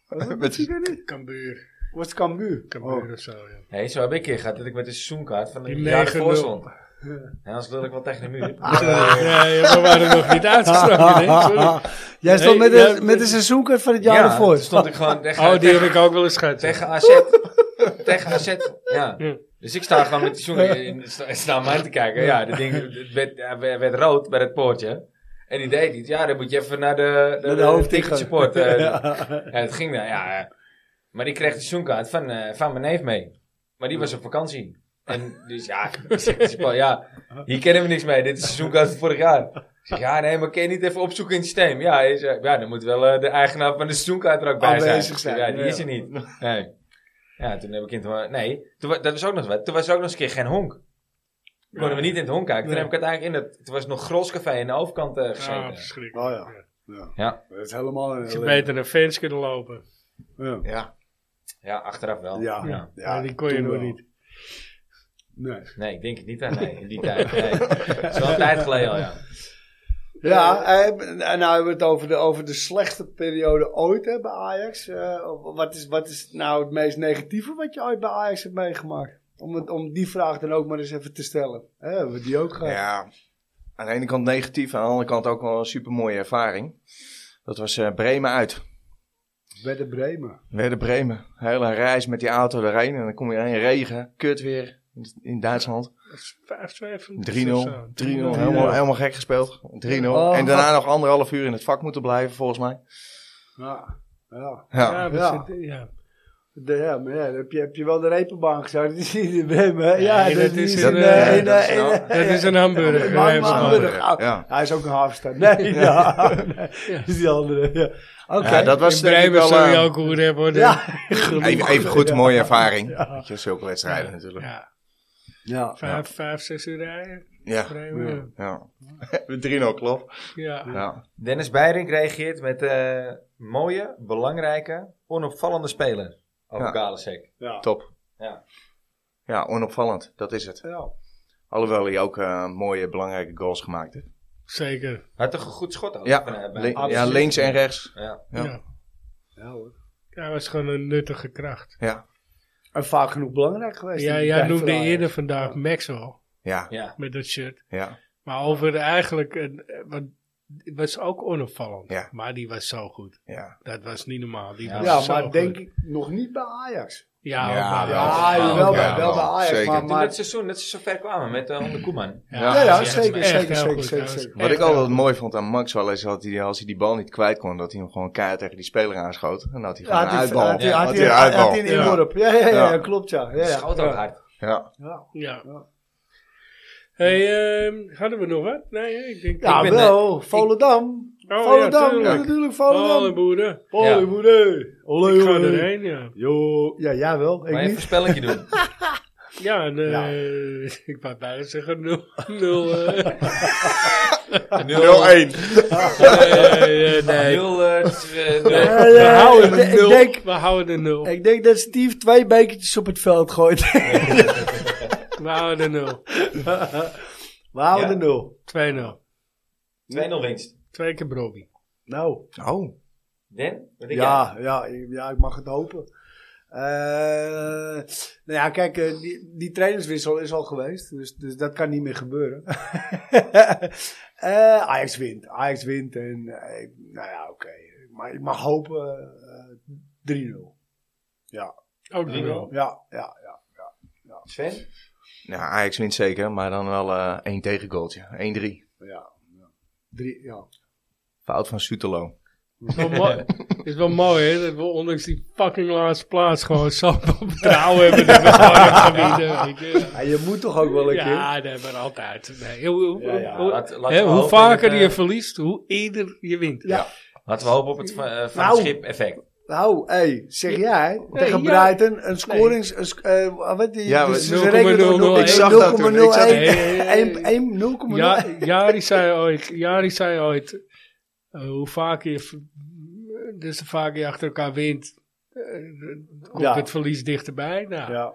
was het.
Met,
Cambuur.
Was Cambuur.
Cambuur
Oh.
of zo, ja.
Nee, zo heb ik een keer gehad dat ik met een seizoenkaart van
Die
een jaar
9-0.
voor stond. En anders lul ik wel tegen de muur.
Nee, we waren nog niet uitgesproken, hè? Sorry.
Jij stond
Nee,
met, de,
ja,
met de seizoenkaart van het jaar ervoor.
toen stond ik gewoon tegen,
Oh, die
tegen,
heb ik ook wel eens gehad. ja.
tegen AZ. tegen AZ, ja.
Ja.
Dus ik sta gewoon met die zoen naar mij te kijken. Ja, dat ding het werd, hij werd- werd rood bij het poortje. En die deed iets. Ja, dan moet je even naar de,
Naar de hoofdticket.
ticket support. eh,
Ja.
Ja, het ging daar, ja. eh. Maar die kreeg de seizoenkaart van, eh, van mijn neef mee. Maar die was op vakantie. En dus ja, ik zeg, ik zeg, "Paul, ja, hier kennen we niks mee. Dit is de seizoenkaart van vorig jaar. Ik zeg, ja, nee, maar kun je niet even opzoeken in het systeem? Ja, hij zegt, ja dan moet wel eh, de eigenaar van de seizoenkaart er ook bij zijn.
Aanwezig
Ik zeg,
zijn,
Ja, die
ja.
is er niet. Nee. Ja, toen heb ik in het honk- Nee, toen, wa- dat was ook nog wat. Toen was er ook nog eens een keer geen honk. Konden we niet in het honk kijken. Toen
Nee.
heb ik uiteindelijk in het... Toen was het nog Groscafé aan de overkant eh gezeten.
Ah, verschrikkelijk.
Oh ja. ja.
Ja.
Dat is helemaal een
Ze beter naar fans kunnen lopen.
Ja.
Ja.
ja, achteraf wel.
Ja.
ja.
Ja, die kon je
toen
nog
wel.
niet.
Nee.
Nee, ik denk het niet aan nee, in die tijd. Nee. Het is wel een tijd geleden al, ja.
Ja, en en nou hebben we het over de, over de slechte periode ooit hè, bij Ajax. Eh, wat, is, wat is nou het meest negatieve wat je ooit bij Ajax hebt meegemaakt? Om, het, om die vraag dan ook maar eens even te stellen. Hè, hebben Eh, we die ook gehad?
Ja, aan de ene kant negatief, aan de andere kant ook wel een super mooie ervaring. Dat was eh, Bremen uit.
Bij de Bremen.
Werden Bremen. Hele reis met die auto erheen. En dan kom je in regen, kut weer. In Duitsland. 3-0. 3-0.
5-2
Helemaal, helemaal gek gespeeld. 3-0.
Oh.
en daarna nog anderhalf uur in het vak moeten blijven, volgens mij.
Ja, ja.
Ja.
Ja, we
Ja.
zitten- ja.
De, ja, maar ja, dan heb je, heb je wel de repenbaan gezien. Dat is niet in Bremen. hè? Ja,
Nee,
dat,
dat is
is niet
een,
in,
eh,
eh, in,
dat is
eh, in,
nou-
eh,
Dat is een hamburger.
Ja, maar-
hè,
maar-
Hamburger.
hamburger.
Ja.
Oh, Hij is ook een halfstad. Nee, ja. Dat is die andere. Ja. Oké.
Ja, dat was
In
denk ik
Bremen
wel,
zou je
eh,
ook hoer hebben hoor.
Ja,
even, even goed, mooie ervaring. Weet je, zulke wedstrijden natuurlijk. Ja.
Ja,
Ja.
vijf, vijf, zes uur rijden.
Ja.
Bremen.
ja. 3-0 klopt.
Ja.
Ja.
Dennis Beirink reageert met eh, mooie, belangrijke, onopvallende speler over
Ja.
Galasek.
Ja.
Top.
Ja.
Ja, onopvallend. Dat is het.
Ja.
Alhoewel hij ook eh, mooie, belangrijke goals gemaakt heeft.
Zeker.
Had toch een goed schot ook?
Ja,
van, eh,
li-
bij-
ja, links en rechts.
Ja.
Ja.
Ja.
Ja.
Ja, hoor.
Hij was gewoon een nuttige kracht.
Ja.
En vaak genoeg belangrijk geweest.
Ja,
in die
jij
tijd
noemde
voor Ajax.
eerder vandaag Maxwell
Ja.
Ja.
met dat shirt.
ja.
Maar over eigenlijk, een- eh, want het was ook onopvallend.
Ja.
Maar die was zo goed. Dat was niet normaal. Die
Ja.
was
Ja,
zo
maar
goed.
denk ik nog niet bij Ajax.
Ja,
Ja,
maar wel.
Ja,
Ja,
wel,
ja,
bij, wel bij
wel.
Ajax.
Zeker.
Maar,
Toen
maar,
het seizoen dat ze zo ver kwamen met eh Onder Koeman.
ja, ja, zeker,
Echt
zeker,
heel
zeker,
goed.
zeker,
Hij was
zeker.
Wat
echt
ik altijd
heel goed.
mooi vond aan Maxwell is dat hij, als hij die bal niet kwijt kon, dat hij hem gewoon keihard tegen die speler aanschoot. En dan had hij
Ja,
gewoon
had
een
hij-
uitbal.
had hij-
Ja,
had
had
hij-
hij een
had
uitbal.
hij een
Ja.
inworp. Ja, ja, ja,
Ja.
klopt ja. Ja,
Ja.
ja.
Schoot ook hard.
Ja.
Ja,
Ja.
Ja.
Hey, ehm, hadden we nog wat? Nee, hè? ik denk... Oh,
Ja,
ben,
wel. Volendam.
ja,
Volendam,
tuurlijk.
natuurlijk
Alle
Volendam.
boeren.
Hoi, moeder.
Ik
Olé,
ga
olé.
erheen, ja.
Jo. Ja, jij wel.
Maar
Ik
even een
niet.
spelletje doen.
Ja, en, eh,
Ja.
ik wou bijna zeggen eh. 0. 0 nee, eh, nee.
0 eh, t- eh, nul.
Ja, ja,
We houden
ik-
een
ik
0.
denk-
We houden een 0.
Ik denk dat Steve twee bekertjes op het veld gooit.
We houden een 0.
We houden
Ja.
de nul.
2-0.
2-0 winst.
Twee keer Broby.
Nou,
Oh.
Den? Wat denk jij?
ja, ja, ik- ja, ik mag het hopen. Eh, nou ja, kijk, eh, die, die trainerswissel is al geweest. Dus, dus dat kan niet meer gebeuren. Eh, Ajax wint. Ajax wint. En, eh, nou ja, oké. Maar ik mag hopen eh, 3-0.
Ook 0.
3-0.
Ja, ja, ja.
Sven?
Ja, Ajax wint zeker, maar dan wel eh, één tegengoaltje. 1-3.
ja, ja. Drie, ja.
Fout van Sutelo.
Is wel mooi- is wel mooi, hè? Dat we ondanks die fucking laatste plaats gewoon zoveel vertrouwen hebben. Dat we gewoon hebben gewonnen, weet je.
Ja, je moet toch ook wel een keer.
Ja, dat hebben we altijd. Nee, hoe, hoe,
Ja, ja,
hoe-
laat- laten
hè,
we
hoe
hopen
vaker
dat, eh,
je verliest, hoe eerder je wint.
Ja.
Laten we hopen op het eh, van
Nou.
het schip effect.
Nou, hé, zeg jij tegen
ja.
Brighton een scorings... Een, sc- eh, wat die,
Ja,
dus
maar
ze rekenen op
0,001.
Ik zag dat toen, ik zag-
0,01,
Nee, nee, nee.
één- één- 0,01.
Ja, Jari zei ooit, Jari zei ooit eh, hoe vaker je, v- dus de vaker je achter elkaar wint, eh, komt
Ja.
het verlies dichterbij. Nou,
Ja.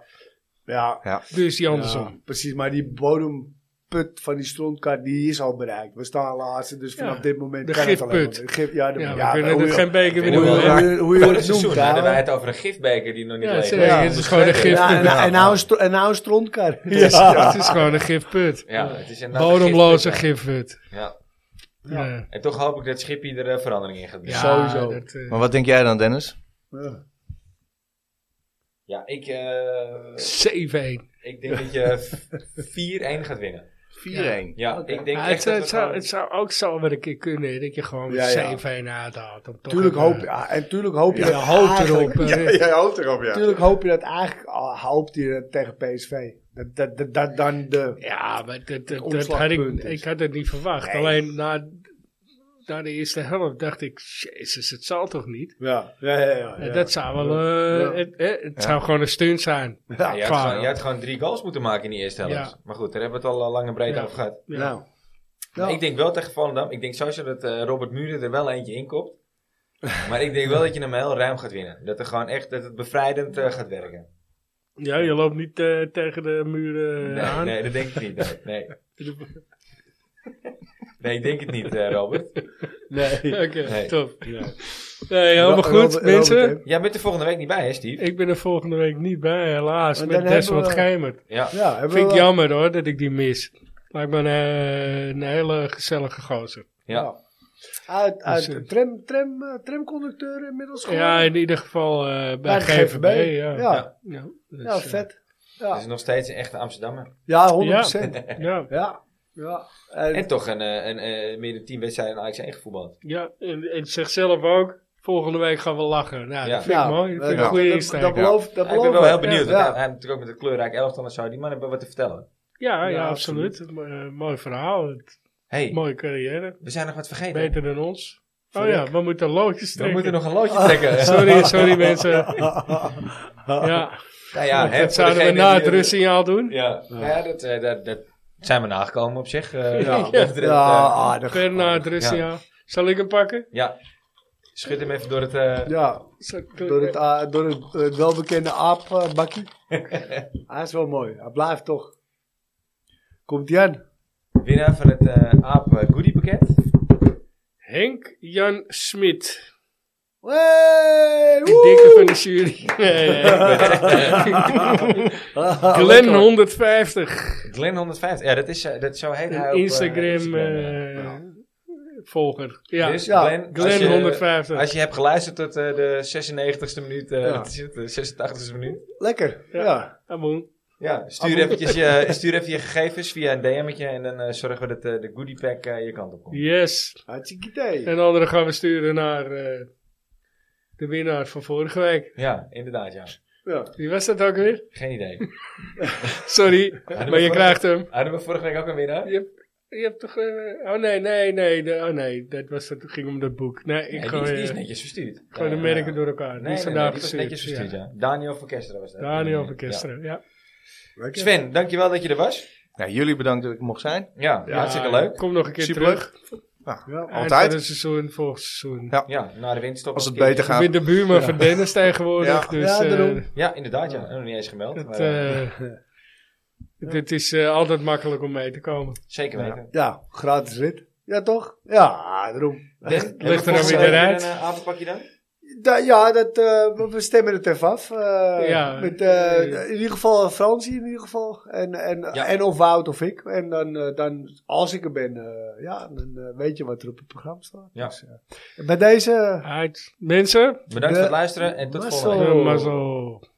Ja,
Dus die
ja,
andersom.
precies. Maar die bodem put van die strontkaart, die is al bereikt. We staan laatste, dus vanaf
Ja,
dit moment
de
kan het alleen
gifput.
maar. De gif- ja, de,
Ja, we
ja,
kunnen
hoe
er
je-
geen beker
Ik
meer
vind
hoe
het
doen.
wel
je- hoe je
Vorig
het noemt,
seizoen hadden wij
hè.
het over een gifbeker die nog niet
Ja,
leeg
zeker.
was.
Het is gewoon een gif-
Ja, en-
Ja,
en nou een stro- En nou een strontkaart.
Het is- Het is gewoon een gifput.
Ja, het is inderdaad een
Bodemloze
gifbeker.
gifput.
Ja.
Ja.
En toch hoop ik dat Schippie er eh, verandering in gaat brengen.
Ja,
Sowieso.
dat, eh,
Maar wat denk jij dan, Dennis?
Ja.
Ja, ik, eh,
7-1.
ik denk dat je v- 4-1 gaat winnen.
4-1.
Ja, ik denk echt
Ja, Nou, het,
dat we
zou- het, zou,
gewoon-
het zou ook zo wel een keer kunnen hè, dat je gewoon
Ja, ja.
7-1 uithaalt. om toch
Tuurlijk
even-
hoop, ja, en tuurlijk hoop je
Je
dat
hoopt
eigenlijk-
erop. eh,
jij hoopt erop, ja.
Tuurlijk hoop je dat eigenlijk, ah, hoopt je dat tegen PSV. Dat, dat, dat, dat dan de...
Ja, maar dat, dat, dat had ik,
omslagpunt is.
ik had het niet verwacht. Alleen na, na de eerste helft dacht ik, jezus, het zal toch niet?
Ja, ja, ja. ja, ja.
Dat zou wel, eh,
Ja.
het, eh, het zou gewoon een stunt zijn.
Ja, je, had
Klaar.
gewoon, je had gewoon drie goals moeten maken in die eerste helft.
Ja.
Maar goed, daar hebben we het al eh, lang en breed
Ja.
over gehad.
Ja.
Nou.
Maar
Nou.
Ik denk wel tegen Volendam. Ik denk sowieso dat eh, Robert Muren er wel eentje inkopt. Maar ik denk wel dat je hem heel ruim gaat winnen. Dat, er gewoon echt, dat het bevrijdend eh, gaat werken.
Ja, je loopt niet eh, tegen de muren eh,
Nee,
aan.
nee, dat denk ik niet. Nee, nee. Nee, ik denk het niet, eh, Robert.
Nee.
Oké,
Nee.
top. Nee, helemaal
Ro-
goed,
Robert-
mensen.
Robert,
Jij bent er volgende week niet bij, hè, Steve?
ik ben er volgende week niet bij, helaas.
Maar
Met
dan hebben
Desmond
we-
Geimert.
Ja.
hè? ja, hebben
Vind
we
ik
wel-
jammer hoor, dat ik die mis. Lijkt me een, eh, een hele gezellige gozer.
ja.
Nou. Uit, uit
Dus, eh,
tram, tram, eh, tramconducteur inmiddels gewoon.
Ja, in ieder geval eh, bij
Bij de
GVB.
GVB,
ja.
ja.
Ja, dus,
Ja,
eh,
vet.
Het
Ja,
is nog steeds een echte Amsterdammer.
ja 100%. Ja.
eh, Ja,
ja. ja.
En toch een, eh, een, eh, meer dan 10 wedstrijden in Ajax 1 gevoetbald.
ja. En, en zeg zelf ook, volgende week gaan we lachen. Nou,
Ja.
dat vind ik
Ja,
mooi. Dat
eh,
vind ik
dat-
een goede
dat-
insteek.
Dat
Ja,
belooft, dat
Ja, ik ben
belooft
wel heel
wat.
benieuwd.
Ja.
want Hij, hij heeft natuurlijk ook met de kleurrijk elftal en zou die man hebben wat te vertellen.
ja,
Ja,
absoluut. Eh, mooi verhaal. Het-
hey,
Mooie carrière.
we zijn nog wat vergeten.
Beter dan ons. Oh
Verrek.
ja, we moeten loodjes
We
trekken.
moeten nog een loodje trekken.
Ah, Sorry, sorry mensen. Ja,
Nou ja, hè,
dat
voor
zouden we
degene
na
die-
het rustsignaal doen.
Ja, Nou ja dat, eh, dat, dat zijn we nagekomen op zich. eh,
Ja,
wat betreft, eh,
Ja, aardig.
Ver na het rustsignaal. Zal ik hem pakken?
ja. schud hem even door het... eh,
Ja,
Zal-
door het, a- door het, het welbekende aapbakkie. Hij is wel mooi. Hij blijft toch. Komt hij aan?
winnaar van het eh aap eh, goodie pakket.
Henk Jan Smit.
Hey,
Die dikke van de jury. Nee, nee, nee. Glenn 150.
Glenn 150. Ja, dat is, eh, dat zo heet hij
Een
op eh,
Instagram
eh.
eh, volger. Ja,
Dus
Ja,
Glenn, als
Glenn
je-
150.
Als je hebt geluisterd tot eh, de 96e minuut, eh,
Ja.
wat is het, de 86e minuut.
Lekker.
Ja.
Ja.
Ah, boem.
Ja, stuur, eventjes je, stuur even je gegevens via een DM'tje en dan eh, zorgen we dat eh, de goodie pack eh, je kant op komt.
Yes.
Hartstikke idee.
En de andere gaan we sturen naar eh, de winnaar van vorige week.
Ja, inderdaad, ja.
Ja.
Wie was dat ook weer?
Geen idee. Ah,
Sorry, maar je
vorige-
krijgt hem.
Hadden we vorige week ook een winnaar?
Je hebt, je hebt toch... eh, oh nee, nee, nee. de- oh nee, dat was, het ging om dat boek. Nee, ik
Ja,
gooi,
die, die is
eh,
netjes verstuurd.
gooi de
Ja,
merken
ja.
door elkaar.
Nee,
die is
nee,
vandaag
nee, die was
gestuurd,
netjes verstuurd, ja. Daniel van Kesteren was dat.
Daniel van
Ja.
Kesteren, ja.
Lekker.
Sven, dankjewel dat je er was.
Nou, jullie bedankt dat ik mocht zijn. Nou,
Ja,
Ja,
hartstikke leuk.
Kom nog een keer
Superleuk.
terug.
Ja.
Eind
Altijd.
van het seizoen, volgend seizoen.
Ja.
Ja, na de winterstop.
Als het
nog een
beter
keertje.
Ik
gaat.
ben de buurman van Dennis tegenwoordig.
Ja.
Dus,
Ja,
eh,
daarom.
Ja, inderdaad, ja. Nog niet eens gemeld.
het,
maar, eh,
eh, het- het is eh, altijd makkelijk om mee te komen.
zeker weten.
Ja, gratis rit. Ja, toch? Ja, daarom.
ligt er dan weer uit.
Een eh, avondpakje dan?
Da- ja, dat, eh, we- we stemmen het even af. eh,
Ja.
met, eh, in ieder geval Fransie in ieder geval. En, en,
Ja.
en of Wout of ik. En dan, eh, dan als ik er ben, eh, ja, dan eh, weet je wat er op het programma staat.
Ja.
Dus, eh, bij deze...
Uit. Mensen,
Bedankt
De-
voor het luisteren en tot
Mazzel.
volgende week.
eh, mazzel.